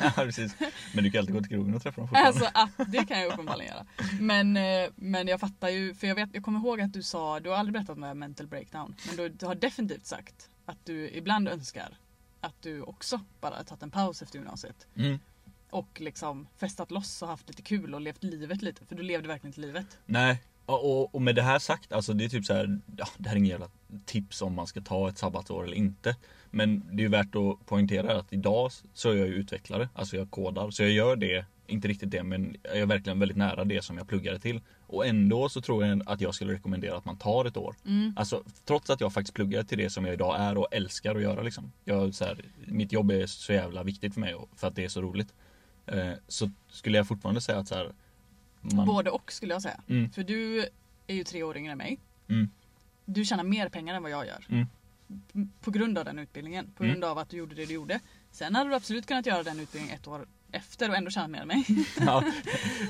A: Ja, precis. Men du kan ju alltid gå till krogen och träffa dem fortfarande.
B: Alltså att det kan jag uppenbarligen göra. Men, eh, men jag fattar ju, för jag, vet, jag kommer ihåg att du sa, du har aldrig berättat om det här mental breakdown. Men du, du har definitivt sagt att du ibland önskar att du också bara har tagit en paus efter gymnasiet.
A: Mm.
B: Och liksom festat loss och haft lite kul och levt livet lite. För du levde verkligen inte livet.
A: Nej, och, och, och med det här sagt, alltså det är typ så här, ja, det här är inget jävla tips om man ska ta ett sabbatsår eller inte. Men det är ju värt att poängtera att idag så är jag ju utvecklare, alltså jag kodar. Så jag gör det, inte riktigt det, men jag är verkligen väldigt nära det som jag pluggade till. Och ändå så tror jag att jag skulle rekommendera att man tar ett år. Alltså trots att jag faktiskt pluggar till det som jag idag är och älskar att göra liksom. Jag, så här, mitt jobb är så jävla viktigt för mig och för att det är så roligt. Eh, så skulle jag fortfarande säga att så här, man...
B: Både och skulle jag säga.
A: Mm.
B: För du är ju tre år yngre än mig.
A: Mm.
B: Du tjänar mer pengar än vad jag gör.
A: Mm.
B: M- På grund av den utbildningen. På
A: Mm.
B: grund av att du gjorde det du gjorde. Sen hade du absolut kunnat göra den utbildningen ett år efter och ändå tjänat mer än mig.
A: Ja,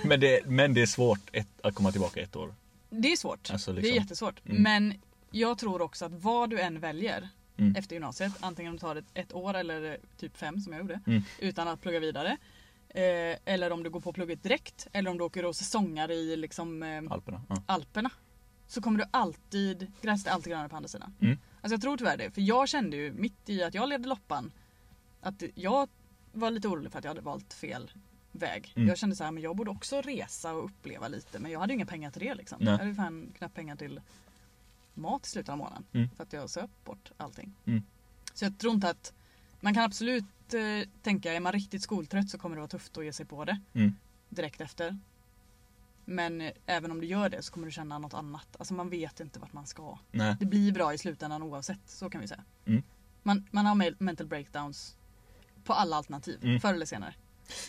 A: men, det, men det är svårt ett, att komma tillbaka ett år.
B: Det är svårt.
A: Alltså,
B: Det
A: liksom.
B: är jättesvårt.
A: Mm.
B: Men jag tror också att vad du än väljer
A: Mm.
B: efter gymnasiet, antingen om du tar ett, ett år eller typ fem som jag gjorde,
A: Mm.
B: utan att plugga vidare. Eh, eller om du går på plugget direkt, eller om du åker och säsongar i liksom, eh,
A: Alperna. Ja.
B: Alperna så kommer du alltid, gräset är alltid grönare på andra sidan.
A: Mm.
B: Alltså jag tror tyvärr det, för jag kände ju mitt i att jag levde loppan att jag var lite orolig för att jag hade valt fel väg.
A: Mm.
B: Jag kände så här, men jag borde också resa och uppleva lite men jag hade ju inga pengar till det liksom.
A: Nej.
B: Jag hade ju fan knappt pengar till mat i slutet av månaden
A: Mm.
B: för att jag söp bort allting.
A: Mm.
B: Så jag tror inte att, man kan absolut eh, tänka, är man riktigt skoltrött så kommer det vara tufft att ge sig på det
A: Mm.
B: direkt efter. Men eh, även om du gör det så kommer du känna något annat. Alltså man vet inte vart man ska.
A: Nej.
B: Det blir bra i slutändan oavsett, så kan vi säga.
A: Mm.
B: Man, man har me- mental breakdowns på alla alternativ,
A: Mm.
B: förr eller senare.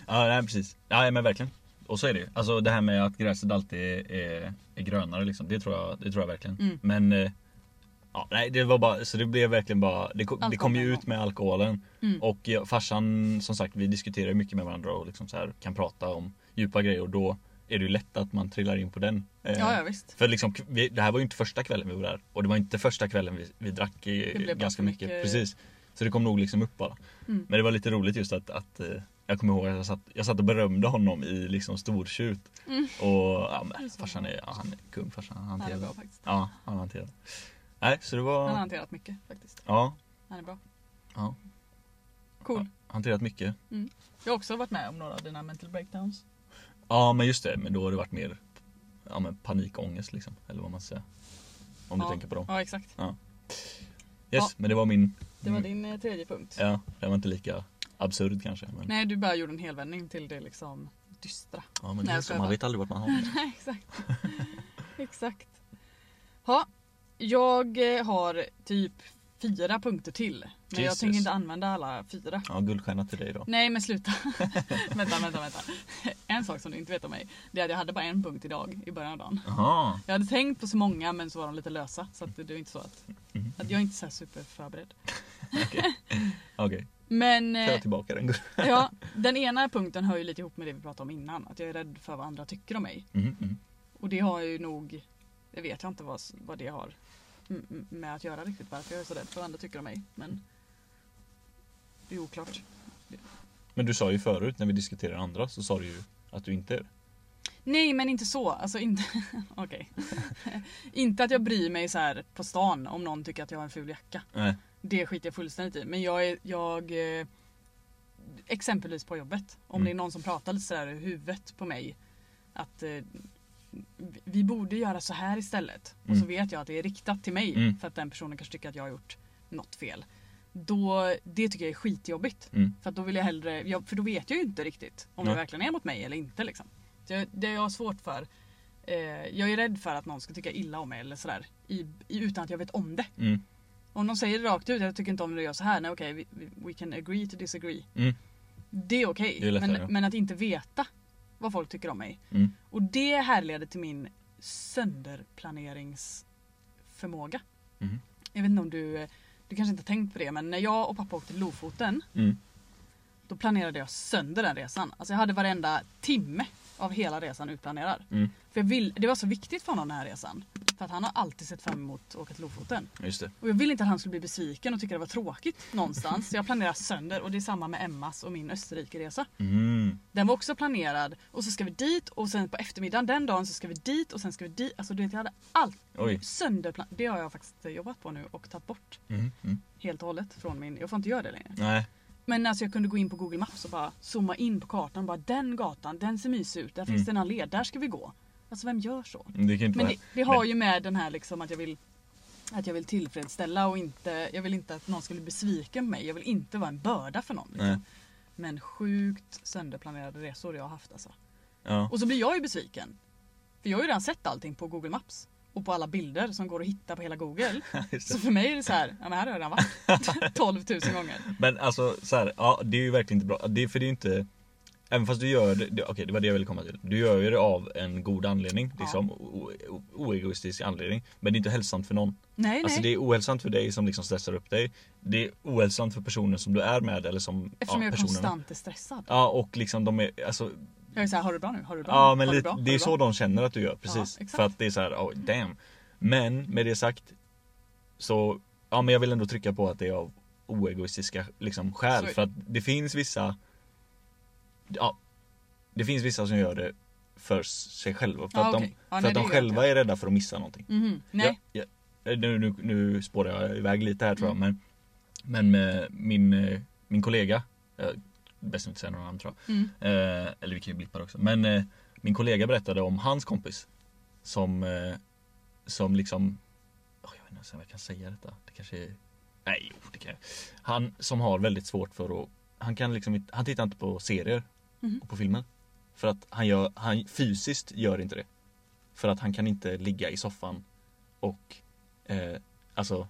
A: Ja, nej, precis. Ja, men verkligen. Och så är det ju. Alltså det här med att gräset alltid är, är, är grönare liksom. Det tror jag, det tror jag verkligen.
B: Mm.
A: Men eh, ja, nej, det var bara, så det blev verkligen bara, det, kom- det kom ju
B: Alkoholen.
A: ut med alkoholen.
B: Mm.
A: Och jag, farsan, som sagt, vi diskuterar mycket med varandra och liksom så här, kan prata om djupa grejer. Och då är det ju lätt att man trillar in på den. Eh,
B: Ja, ja visst.
A: För liksom, k- vi, det här var ju inte första kvällen vi var där och det var inte första kvällen vi, vi drack eh,
B: blev bara
A: ganska
B: för
A: mycket.
B: mycket-
A: Precis. Så det kom nog liksom upp bara.
B: Mm.
A: Men det var lite roligt just att, att eh, jag kommer ihåg att jag satt, jag satt och berömde honom i liksom stortjut.
B: Mm.
A: Och ja,
B: Det är
A: men,
B: så
A: farsan är,
B: bra.
A: ja, han är kung farsan. Han
B: Han är bra
A: hanterar
B: faktiskt.
A: Ja, han hanterar Nej, så det
B: Han har
A: var...
B: hanterat mycket faktiskt.
A: Ja,
B: Han är bra.
A: ja.
B: Cool.
A: Hanterat mycket.
B: Jag har också varit med om några av dina mental breakdowns.
A: Ja, men just det. Men då har det varit mer ja, men panikångest liksom. Eller vad man säger. Om du
B: Ja.
A: tänker på dem.
B: Ja exakt.
A: Yes,
B: Ja.
A: men det var min...
B: Det var din eh, tredje punkt.
A: Mm. Ja, det var inte lika absurd kanske. Men,
B: Nej du bara gjorde en helvändning till det liksom dystra.
A: ja, men
B: Nej,
A: det är
B: jag
A: så,
B: skojar
A: man
B: bara.
A: vet aldrig vart man har
B: Nej, exakt. exakt. Ja, jag eh, har typ fyra punkter till. Men jag
A: Jesus.
B: tänker inte använda alla fyra.
A: Ja, guldstjärna till dig då.
B: Nej men sluta. vänta, vänta, vänta. En sak som du inte vet om mig. Det är att jag hade bara en punkt idag i början av dagen.
A: Jaha.
B: Jag hade tänkt på så många men så var de lite lösa. Så att det det är inte så att,
A: Mm.
B: att jag är inte så här superförberedd.
A: Okej,
B: Men
A: tar jag
B: eh,
A: tillbaka den. guld-
B: ja, den ena punkten hör ju lite ihop med det vi pratade om innan. Att jag är rädd för vad andra tycker om mig.
A: Mm, mm.
B: Och det har ju nog, det vet jag inte vad, vad det har m- m- med att göra riktigt varför jag är så rädd för vad andra tycker om mig. Men det är oklart.
A: Men du sa ju förut när vi diskuterade andra så sa du ju att du inte är det.
B: Nej men inte så, alltså inte, okej. inte att jag bryr mig så här på stan om någon tycker att jag har en ful jacka.
A: Nej.
B: Det skiter jag fullständigt i. Men jag är, jag eh, Exempelvis på jobbet. Om
A: Mm.
B: det är någon som pratar lite sådär i huvudet på mig. Att eh, vi- vi borde göra så här istället. Och så
A: Mm.
B: vet jag att det är riktat till mig.
A: Mm.
B: För att den personen kanske tycker att jag har gjort något fel. Då, det tycker jag är skitjobbigt.
A: Mm.
B: För att då vill jag hellre, jag, för då vet jag ju inte riktigt om det
A: Nej.
B: verkligen är mot mig eller inte. Liksom. Så jag, det jag har svårt för. Eh, jag är rädd för att någon ska tycka illa om mig eller sådär. I, i, utan att jag vet om det.
A: Mm.
B: Om de säger det rakt ut, jag tycker inte om när du gör så här. Nej okej, we, we can agree to disagree.
A: Mm.
B: Det är okej.
A: Det är lättare.
B: men, men att inte veta vad folk tycker om mig.
A: Mm.
B: Och det härleder till min sönderplaneringsförmåga.
A: Mm.
B: Jag vet inte om du, eh, du kanske inte har tänkt på det, men när jag och pappa åkte till Lofoten
A: Mm.
B: då planerade jag sönder den resan. Alltså jag hade varenda timme av hela resan utplanerad.
A: Mm.
B: För jag vill, det var så viktigt för honom den här resan. För att han har alltid sett fram emot att åka till Lofoten.
A: Just det.
B: Och jag ville inte att han skulle bli besviken och tycka det var tråkigt någonstans. Så jag planerade sönder och det är samma med Emmas och min Österrikeresa.
A: Mm.
B: Den var också planerad och så ska vi dit och sen på eftermiddagen den dagen så ska vi dit och sen ska vi dit. Alltså du vet jag hade allt
A: Oj.
B: sönderplanerat. Det har jag faktiskt jobbat på nu och tagit bort
A: Mm. Mm.
B: helt och hållet från min, jag får inte göra det längre.
A: Nej.
B: Men alltså jag kunde gå in på Google Maps och bara zooma in på kartan. Bara den gatan, den ser mysig ut. Där finns det
A: Mm.
B: någon led, där ska vi gå. Alltså vem gör så?
A: Det kan ju inte
B: Men
A: vara...
B: det, det har ju med den här liksom att jag vill att jag vill tillfredsställa och inte, jag vill inte att någon ska bli besviken på mig. Jag vill inte vara en börda för någon. Liksom.
A: Nej.
B: Men sjukt sönderplanerade resor jag har haft alltså.
A: Ja.
B: Och så blir jag ju besviken. För jag har ju redan sett allting på Google Maps. Och på alla bilder som går att hitta på hela Google.
A: Just det.
B: Så för mig är det så här, ja men här har jag redan varit 12 000 gånger.
A: Men alltså så här, ja det är ju verkligen inte bra. Det, är- för det är ju inte... Även fast du gör det, det okej det var det jag ville komma till. Du gör ju det av en god anledning
B: Ja.
A: liksom. O, o, oegoistisk anledning. Men det är inte hälsosamt för någon.
B: Nej
A: Alltså
B: nej.
A: det är ohälsosamt för dig som liksom stressar upp dig. Det är ohälsosamt för personen som du är med eller som
B: Eftersom
A: ja,
B: jag är
A: personerna.
B: konstant är stressad.
A: Ja och liksom de är, alltså
B: Jag är så här, har du det bra nu? Har du det bra?
A: Ja
B: nu?
A: men
B: har du
A: lite,
B: bra? Har
A: det är
B: du
A: så
B: bra?
A: de känner att du gör precis.
B: exakt.
A: för att det är så här, oh, damn. Men med det sagt så, ja men jag vill ändå trycka på att det är av oegoistiska liksom, skäl.
B: Så är-
A: För att det finns vissa, ja, det finns vissa som gör det för sig själva. För
B: Ja,
A: att de,
B: okej. Ja,
A: för
B: nej,
A: att
B: det
A: de
B: vet
A: själva
B: jag.
A: är rädda för att missa någonting.
B: Mhm, Nej.
A: Ja, ja. Nu, nu, nu spårar jag iväg lite här tror jag
B: Mm.
A: men, men med min, eh, min kollega, jag bäst inte säga några namn tror jag.
B: Mm.
A: Eh, eller vi kan ju blippa det också. Men eh, min kollega berättade om hans kompis. Som, eh, som liksom... Åh, jag vet inte ens om jag kan säga detta. Det kanske är... Nej, jo, det kan jag. Han som har väldigt svårt för att... Han, kan liksom, inte- han tittar inte på serier
B: Mhm.
A: och på filmer. För att han, gör, han fysiskt gör inte det. För att han kan inte ligga i soffan och... Eh, alltså...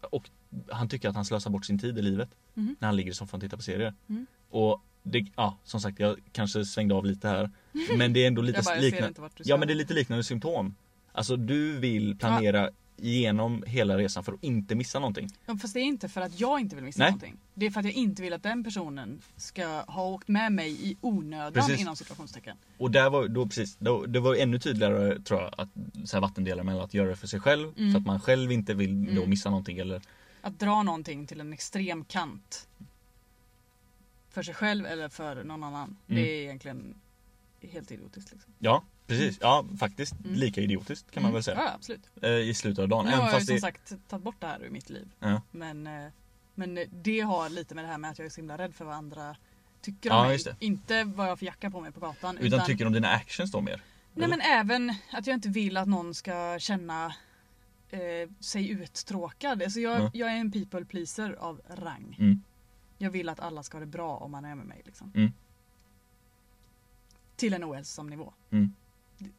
A: Och han tycker att han slösar bort sin tid i livet.
B: Mhm.
A: När han ligger i soffan och tittar på serier.
B: Mm.
A: Och det, ja, som sagt, jag kanske svängde av lite här. Men det är ändå lite
B: jag bara, jag ser
A: liknande.
B: inte vart du ska.
A: Ja, men det är lite liknande symptom. Alltså du vill planera igenom hela resan för att inte missa någonting.
B: Ja, Fast det är inte för att jag inte vill missa
A: Nej.
B: någonting. Det är för att jag inte vill att den personen ska ha åkt med mig i onödan
A: Precis.
B: inom situationstecken.
A: Och där var, då precis, då, det var ännu tydligare tror jag att så här vattendelare mellan att göra det för sig själv
B: Mm.
A: för att man själv inte vill då
B: Mm.
A: missa någonting eller
B: Att dra någonting till en extrem kant. För sig själv eller för någon annan.
A: Mm.
B: Det är egentligen helt idiotiskt. Liksom.
A: Ja precis, ja faktiskt
B: Mm.
A: lika idiotiskt kan man väl säga
B: Ja, absolut.
A: eh, i slutet av dagen.
B: Nu
A: Även
B: har jag ju
A: fast
B: som
A: det,
B: sagt tagit bort det här ur mitt liv.
A: Ja.
B: Men, eh, men det har lite med det här med att jag är så himla rädd för vad andra tycker
A: Ja,
B: om mig.
A: just det.
B: Inte vad jag har för jacka på mig på gatan.
A: utan, tycker om dina actions då mer?
B: Nej men även att jag inte vill att någon ska känna eh, sig uttråkad. Alltså jag,
A: Mm.
B: jag är en people pleaser av rang.
A: Mm.
B: Jag vill att alla ska ha det bra om man är med mig. Liksom.
A: Mm.
B: Till en ohälsosam nivå.
A: Mm.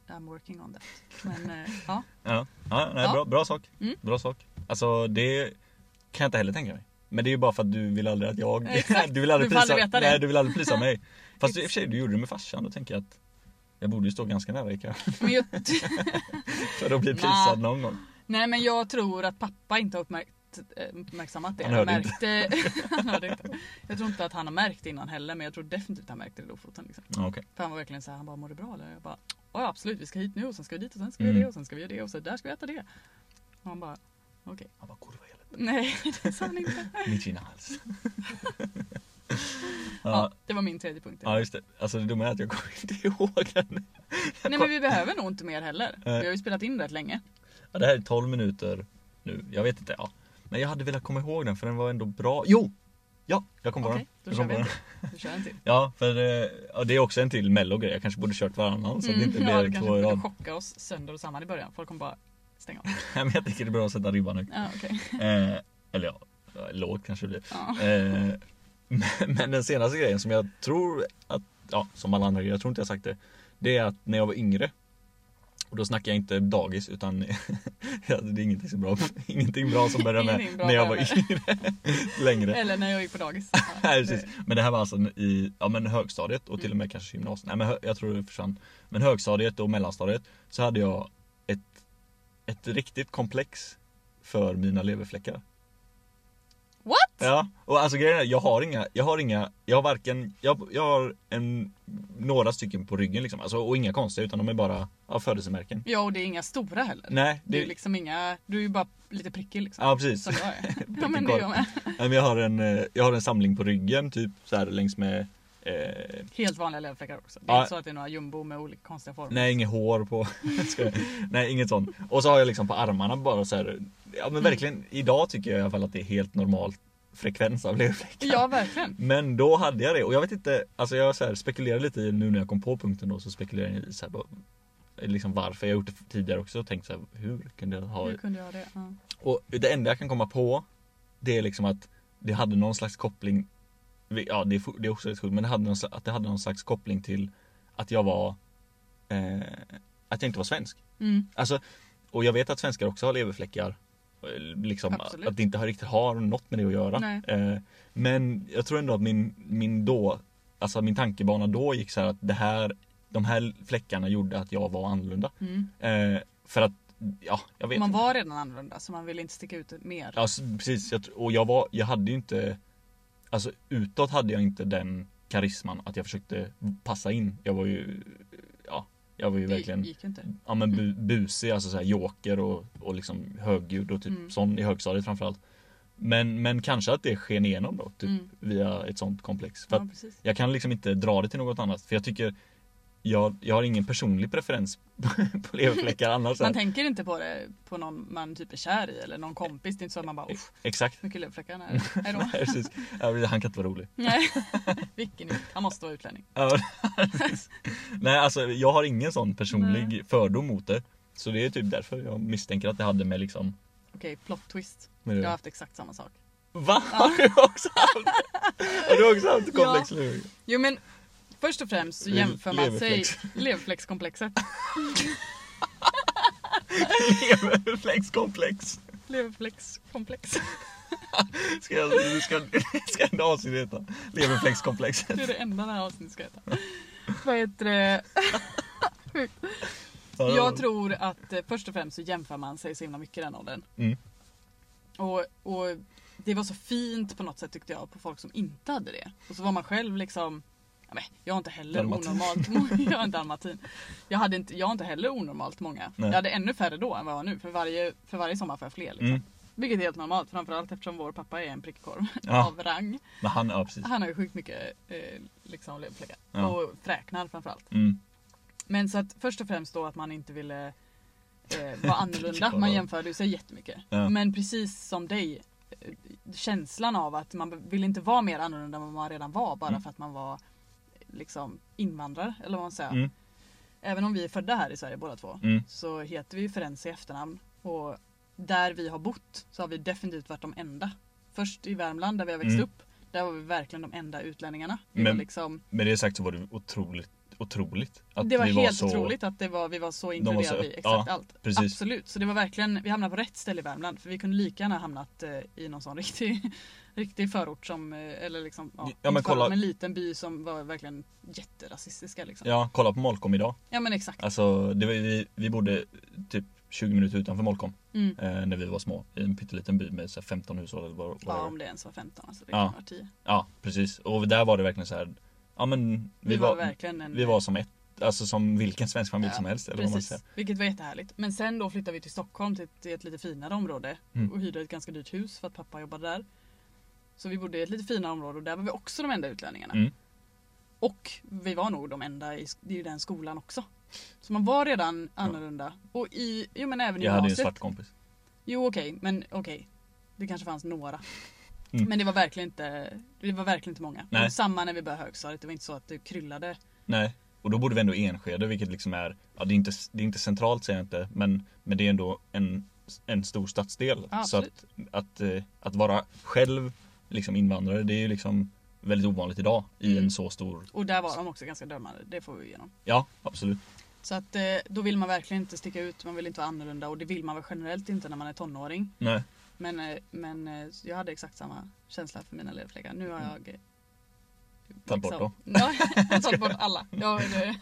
B: I'm working on that. Men eh, ja.
A: Ja, ja, nej,
B: Ja.
A: Bra, bra sak.
B: Mm.
A: Bra sak. Alltså det kan jag inte heller tänka mig. Men det är ju bara för att du vill aldrig att jag...
B: Exakt.
A: du vill aldrig
B: Du får
A: prisa,
B: aldrig veta det.
A: nej, du vill aldrig prisa mig. Fast i och för sig, du gjorde det med farsan. Då tänker jag att jag borde ju stå ganska nära Ica
B: Men jag,
A: för att bli
B: Nah.
A: prisad någon gång.
B: nej men jag tror att pappa inte har uppmärkt, eh, uppmärksammat det.
A: Han hörde
B: märkte, han hörde inte. Jag tror inte att han har märkt det innan heller men jag tror definitivt han märkte det då foten. Liksom.
A: Ja, okej.
B: För han var verkligen så här, han bara mår du bra eller? Jag bara, ja absolut vi ska hit nu och sen ska vi dit och sen ska vi
A: Mm.
B: göra det och sen ska vi göra det och så där ska vi äta det. Och han bara, okej.
A: Han bara, går det vad i helvete?
B: Nej det sa han inte.
A: Mitt fina hals. ja,
B: Ja, det var min tredje punkt.
A: ja, just det. Alltså det dumma är att jag kommer inte ihåg den.
B: Nej men vi behöver nog inte mer heller. Vi
A: Nej.
B: har ju spelat in rätt länge.
A: Ja, det här är 12 minuter nu. Jag vet inte. Ja. Men jag hade velat komma ihåg den för den var ändå bra. Jo! Ja, jag kom på
B: Okej,
A: den.
B: då
A: Jag kom
B: kör vi
A: på
B: en
A: den.
B: till. Vi kör en till.
A: Ja, för eh, ja, det är också en till mello-grej. Jag kanske borde kört varannan så att det inte
B: Mm, ja, det
A: blir
B: kanske
A: två i
B: borde
A: rad.
B: chocka oss sönder och samman i början. Folk kommer bara stänga av.
A: Nej, men jag tycker det är bra att sätta ribban högt.
B: Ja, okej.
A: Eh, eller ja, lågt kanske det blir.
B: ja.
A: Eh, men- men den senaste grejen som jag tror att, ja som alla andra grejer, jag tror inte jag sagt det. Det är att när jag var yngre och då snackar jag inte dagis utan ja, det är ingenting, så bra, ingenting bra som börjar med
B: Ingenting bra
A: när jag var
B: börjar med.
A: yngre. Längre.
B: Eller när jag gick på dagis. Ja,
A: Nej, precis. Men det här var alltså i ja, men högstadiet och till och med kanske gymnasiet. Nej men hö- jag tror det försvann. Men högstadiet och mellanstadiet så hade jag ett, ett riktigt komplex för mina leverfläckar.
B: What?
A: Ja, och alltså grejen är, jag har inga, jag har inga, jag har varken, jag, jag har en, några stycken på ryggen liksom. Alltså, och inga konstiga utan de är bara ja, födelsemärken.
B: Ja och det är inga stora heller.
A: Nej,
B: Det är
A: det,
B: ju liksom inga, du är ju bara lite prickig liksom.
A: ja precis.
B: Som jag är. Ja men det är jag med.
A: Nej, men jag, har en, eh, jag har en samling på ryggen typ så här längs med eh,
B: Helt vanliga leverfläckar också. Det är
A: Ja.
B: inte så att det är några jumbo med olika konstiga former.
A: Nej, inget hår på. Jag skojar. Nej, inget sånt. Och så har jag liksom på armarna bara så här. Ja
B: Mm.
A: men verkligen, idag tycker jag i alla fall att det är helt normal frekvens av leverfläckar.
B: Ja verkligen.
A: Men då hade jag det och jag vet inte, alltså jag så här spekulerar lite i nu när jag kom på punkten då så spekulerar jag i så här, bara, liksom varför. Jag har gjort det tidigare också och tänkt så här, hur kunde jag ha
B: Hur kunde jag ha det? Ja.
A: och det enda jag kan komma på Det är liksom att det hade någon slags koppling Ja det är, fu- det är också rätt sjukt men det hade någon, sla- att det hade någon slags koppling till Att jag var eh, Att jag inte var svensk
B: Mm.
A: Alltså Och jag vet att svenskar också har leverfläckar Eh, Liksom
B: Absolut.
A: att det inte har riktigt har något med det att göra
B: Nej.
A: eh, Men jag tror ändå att min, min då Alltså min tankebana då gick så här att det här De här fläckarna gjorde att jag var annorlunda
B: Mm.
A: eh, För att Ja, jag vet
B: Man
A: inte.
B: var redan annorlunda så man ville inte sticka ut mer.
A: Ja s- precis, jag, tr- och jag, var, jag hade ju inte Alltså utåt hade jag inte den karisman att jag försökte passa in. Jag var ju Ja, jag var ju
B: det
A: verkligen Mm.
B: gick ju inte.
A: ja, men bu, busig, alltså så här joker och, och liksom högljudd och typ
B: Mm.
A: sån i högstadiet framförallt. Men, men kanske att det sken igenom då, typ
B: Mm.
A: via ett sånt komplex. För
B: Ja,
A: att
B: precis.
A: jag kan liksom inte dra det till något annat för jag tycker jag, jag har ingen personlig preferens på leverfläckar annars.
B: Man tänker inte på det på någon man typ är kär i eller någon kompis. Det är inte så att man bara usch,
A: Exakt.
B: mycket leverfläckar. Nej, hej då.
A: Nej, precis. Ja, men Han kan inte vara rolig.
B: Nej. Vilken idiot. Han måste vara utlänning.
A: Ja, precis. Nej alltså jag har ingen sån personlig fördom mot det. Så det är typ därför jag misstänker att det hade med liksom
B: Okej, plot twist.
A: med
B: Jag har
A: det.
B: haft exakt samma sak.
A: Va? Har du också haft Har du också haft komplex lur?
B: Jo men först och främst så
A: Le-
B: jämför man sig
A: leverflex. leverflexkomplexet.
B: leverflexkomplexet.
A: Flexkomplex.
B: Leverflexkomplex.
A: Ska jag, du ska, ska en avsnitt heta
B: Det är
A: Leverflexkomplexet.
B: det enda det här avsnittet ska heta. Vad heter det? Sjukt.
A: Ja.
B: Jag tror att eh, först och främst så jämför man sig så himla mycket i den åldern.
A: Mm.
B: Och, och det var så fint på något sätt tyckte jag på folk som inte hade det. Och så var man själv liksom ja, men, jag har inte heller
A: Dalmatin.
B: onormalt många. Jag har en dalmatin. Jag, hade inte, jag har inte heller onormalt många.
A: Nej.
B: Jag hade ännu färre då än vad jag har nu. För varje, för varje sommar får jag fler. Liksom.
A: Mm.
B: Vilket är helt normalt. Framförallt eftersom vår pappa är en prickkorv
A: Ja.
B: av rang.
A: Men han, ja precis.
B: Han har ju sjukt mycket eh, liksom, leverfläckar.
A: Ja.
B: Och fräknar framförallt.
A: Mm.
B: Men så att först och främst då att man inte ville eh, vara annorlunda. Man jämförde ju sig jättemycket.
A: Ja.
B: Men precis som dig, eh, känslan av att man ville inte vara mer annorlunda än vad man redan var bara
A: Mm.
B: för att man var eh, liksom invandrare eller vad man säger.
A: Mm.
B: Även om vi är födda här i Sverige båda två
A: Mm.
B: så heter vi ju Ferenzi i efternamn. Och där vi har bott så har vi definitivt varit de enda. Först i Värmland där vi har växt
A: Mm.
B: upp. Där var vi verkligen de enda utlänningarna. Vi
A: Men-
B: var liksom,
A: Med det sagt så var det otroligt, otroligt. Att
B: det var
A: vi
B: helt
A: var så,
B: otroligt att det var, vi var så
A: var så
B: inkluderade i
A: öpp-
B: exakt
A: ja,
B: allt.
A: precis.
B: Absolut, så det var verkligen, vi hamnade på rätt ställe i Värmland. För vi kunde lika gärna hamnat eh, i någon sån riktig, riktig förort som, eh, eller liksom, ja,
A: Ja,
B: inte
A: men
B: förort,
A: kolla-
B: men en liten by som var verkligen jätterasistiska liksom. Ja,
A: Ja, kolla på Molkom idag.
B: men exakt.
A: Alltså, det var, ju- vi, vi bodde typ 20 minuter utanför Molkom
B: Mm.
A: eh, när vi var små. I en pytteliten by med så här, 15 hushåll eller vad
B: Ja,
A: vad
B: om
A: det
B: det ens var 15 alltså, det
A: Ja.
B: kan vara 10.
A: Ja, precis. Och där var det verkligen så här. Ja men
B: Vi, var, verkligen en...
A: vi var som ett, alltså som vilken svensk familj
B: Ja,
A: som helst. Eller vad man
B: Precis,
A: säger.
B: vilket var jättehärligt. Men sen då flyttade vi till Stockholm till ett, till ett lite finare område
A: Mm.
B: och hyrde ett ganska dyrt hus för att pappa jobbade där. Så vi bodde i ett lite finare område och där var vi också de enda utlänningarna.
A: Mm.
B: Och vi var nog de enda i, sk- i den skolan också. Så man var redan annorlunda. Och i, jo men även i
A: Jag hade ju en
B: gymnasiet.
A: svart kompis.
B: Jo okej, men okej. Det kanske fanns några.
A: Mm.
B: Men det var verkligen inte, det var verkligen inte många.
A: Nej.
B: Och samma när vi började högstadiet, det var inte så att det kryllade.
A: Nej. Och då bodde vi ändå i Enskede vilket liksom är, ja det är inte, det är inte centralt säger jag inte men, men det är ändå en, en stor stadsdel.
B: Ja,
A: så att, att, eh, att vara själv liksom invandrare det är ju liksom väldigt ovanligt idag i
B: Mm.
A: en så stor,
B: Och där var de också ganska dömande, det får vi igenom.
A: ja absolut.
B: Så att eh, då vill man verkligen inte sticka ut, man vill inte vara annorlunda och det vill man väl generellt inte när man är tonåring.
A: Nej.
B: Men, eh, men eh, jag hade exakt samma känsla för mina leverfläckar. Nu har jag... eh,
A: Mm. Tagit bort
B: liksom-
A: dem.
B: Ja, jag har tagit bort alla. Jag har eh,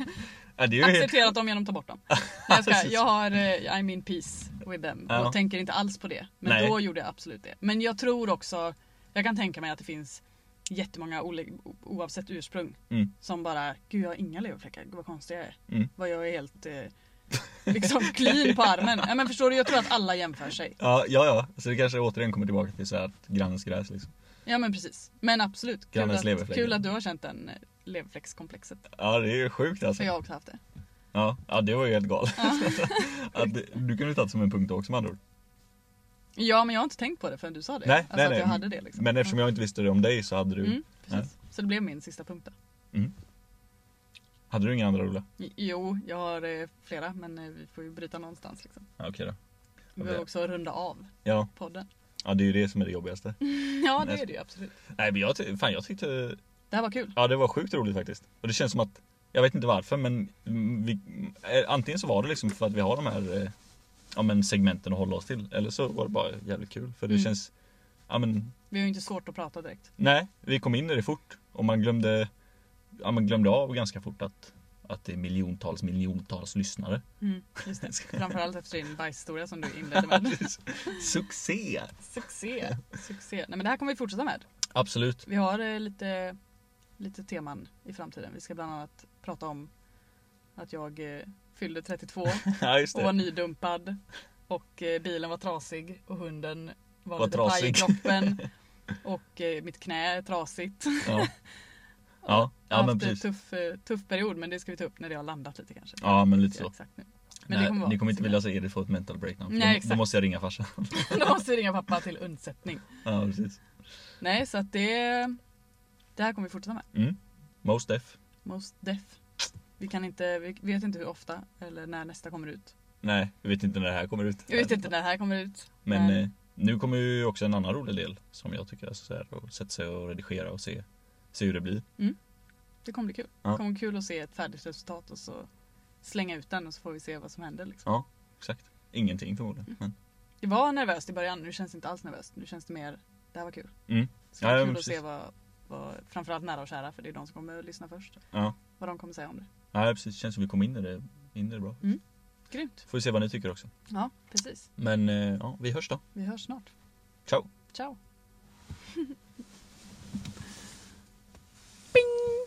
A: Ja, det är ju helt,
B: accepterat dem genom att ta bort dem. Nej, Jag, ska,
A: Precis.
B: jag har eh, I'm in peace with them
A: Ja.
B: och tänker inte alls på det. Men
A: Nej.
B: då gjorde jag absolut det. Men jag tror också, jag kan tänka mig att det finns jättemånga ole- o- oavsett ursprung
A: Mm.
B: som bara, gud jag har inga leverfläckar, gud vad konstig jag är.
A: Mm.
B: Vad jag är helt eh, liksom clean på armen. Ja, men förstår du, jag tror att alla jämför sig.
A: ja, ja, ja. Så det kanske återigen kommer tillbaka till så här att grannens gräs liksom.
B: Ja men precis. Men absolut, kul
A: Grannens
B: att,
A: leverfläck.
B: kul att du har känt den eh, leverfläckskomplexet.
A: Ja det är ju sjukt alltså.
B: För jag har också haft det.
A: Ja, ja det var ju helt galet. att, du kunde ju tagit som en punkt också med andra ord.
B: Ja men jag har inte tänkt på det förrän du sa det.
A: Nej,
B: alltså
A: nej,
B: att
A: nej.
B: jag hade det liksom.
A: Men eftersom jag inte visste det om dig så hade du,
B: Mm, precis. Så det blev min sista punkt då.
A: hade du inga andra roliga?
B: J- Jo, jag har eh, flera men eh, vi får ju bryta någonstans. Liksom.
A: Ja, okej då.
B: Vi
A: Ja,
B: behöver
A: det-
B: också runda av
A: Ja,
B: podden.
A: ja, det är ju det som är det jobbigaste.
B: Mm. Ja det
A: Nej.
B: är det ju absolut.
A: Nej men jag, ty- fan, jag tyckte,
B: Det här var kul.
A: ja det var sjukt roligt faktiskt. Och det känns som att, jag vet inte varför men vi, eh, antingen så var det liksom för att vi har de här eh, ja, men segmenten att hålla oss till. Eller så var det bara jävligt kul för det
B: Mm.
A: känns, ja men
B: Vi har ju inte svårt att prata direkt.
A: nej, vi kom in i det fort. Och man glömde, ja, man glömde av ganska fort att, att det är miljontals miljontals lyssnare.
B: Mm, just det. Framförallt efter din bajshistoria som du inledde med.
A: Succé!
B: Succé! Succé. Nej men det här kommer vi fortsätta med.
A: Absolut.
B: Vi har eh, lite, lite teman i framtiden. Vi ska bland annat prata om att jag eh, fyllde 32
A: Ja just
B: och var nydumpad och eh, bilen var trasig och hunden var,
A: Var
B: lite paj i
A: trasig.
B: kroppen och eh, mitt knä är trasigt.
A: Ja, ja,
B: Jag
A: ja
B: har
A: men
B: haft en
A: precis.
B: tuff, eh, tuff period men det ska vi ta upp när det har landat lite kanske.
A: Ja men lite
B: Inte
A: så.
B: Exakt nu. Men det
A: Nej,
B: kommer vara-
A: ni kommer inte vilja se Edith få ett mental breakdown. för
B: Nej,
A: då,
B: exakt.
A: då måste jag ringa farsan.
B: Då måste vi ringa pappa till undsättning.
A: Ja precis.
B: Nej så att det, det här kommer vi fortsätta med.
A: Mm. Most def.
B: Most def. Vi kan inte, vi vet inte hur ofta eller när nästa kommer ut.
A: Nej, jag vet inte när det här kommer ut.
B: Jag vet inte när det här kommer ut.
A: Men
B: men-
A: eh, nu kommer ju också en annan rolig del som jag tycker är så här att sätta sig och redigera och se, se hur det blir.
B: Det kommer bli kul.
A: Ja.
B: Det kommer bli kul att se ett färdigt resultat och så slänga ut den och så får vi se vad som händer. Liksom.
A: Ja, exakt. Ingenting
B: Mm.
A: förmodligen. Men,
B: Det var nervöst i början, nu känns det inte alls nervöst. Nu känns det mer, det här var kul.
A: Mm.
B: Så det är
A: Ja, ja,
B: kul
A: men
B: att se
A: precis.
B: vad, vad, framförallt nära och kära, för det är de som kommer att lyssna först.
A: ja.
B: Vad de kommer säga om det.
A: ja, precis. Det känns som vi kom in i det, in i det bra.
B: Mm. Grymt.
A: Får vi se vad ni tycker också.
B: Ja, precis.
A: Men eh, ja, vi hörs då.
B: Vi hörs snart.
A: Ciao!
B: Ciao. Bing!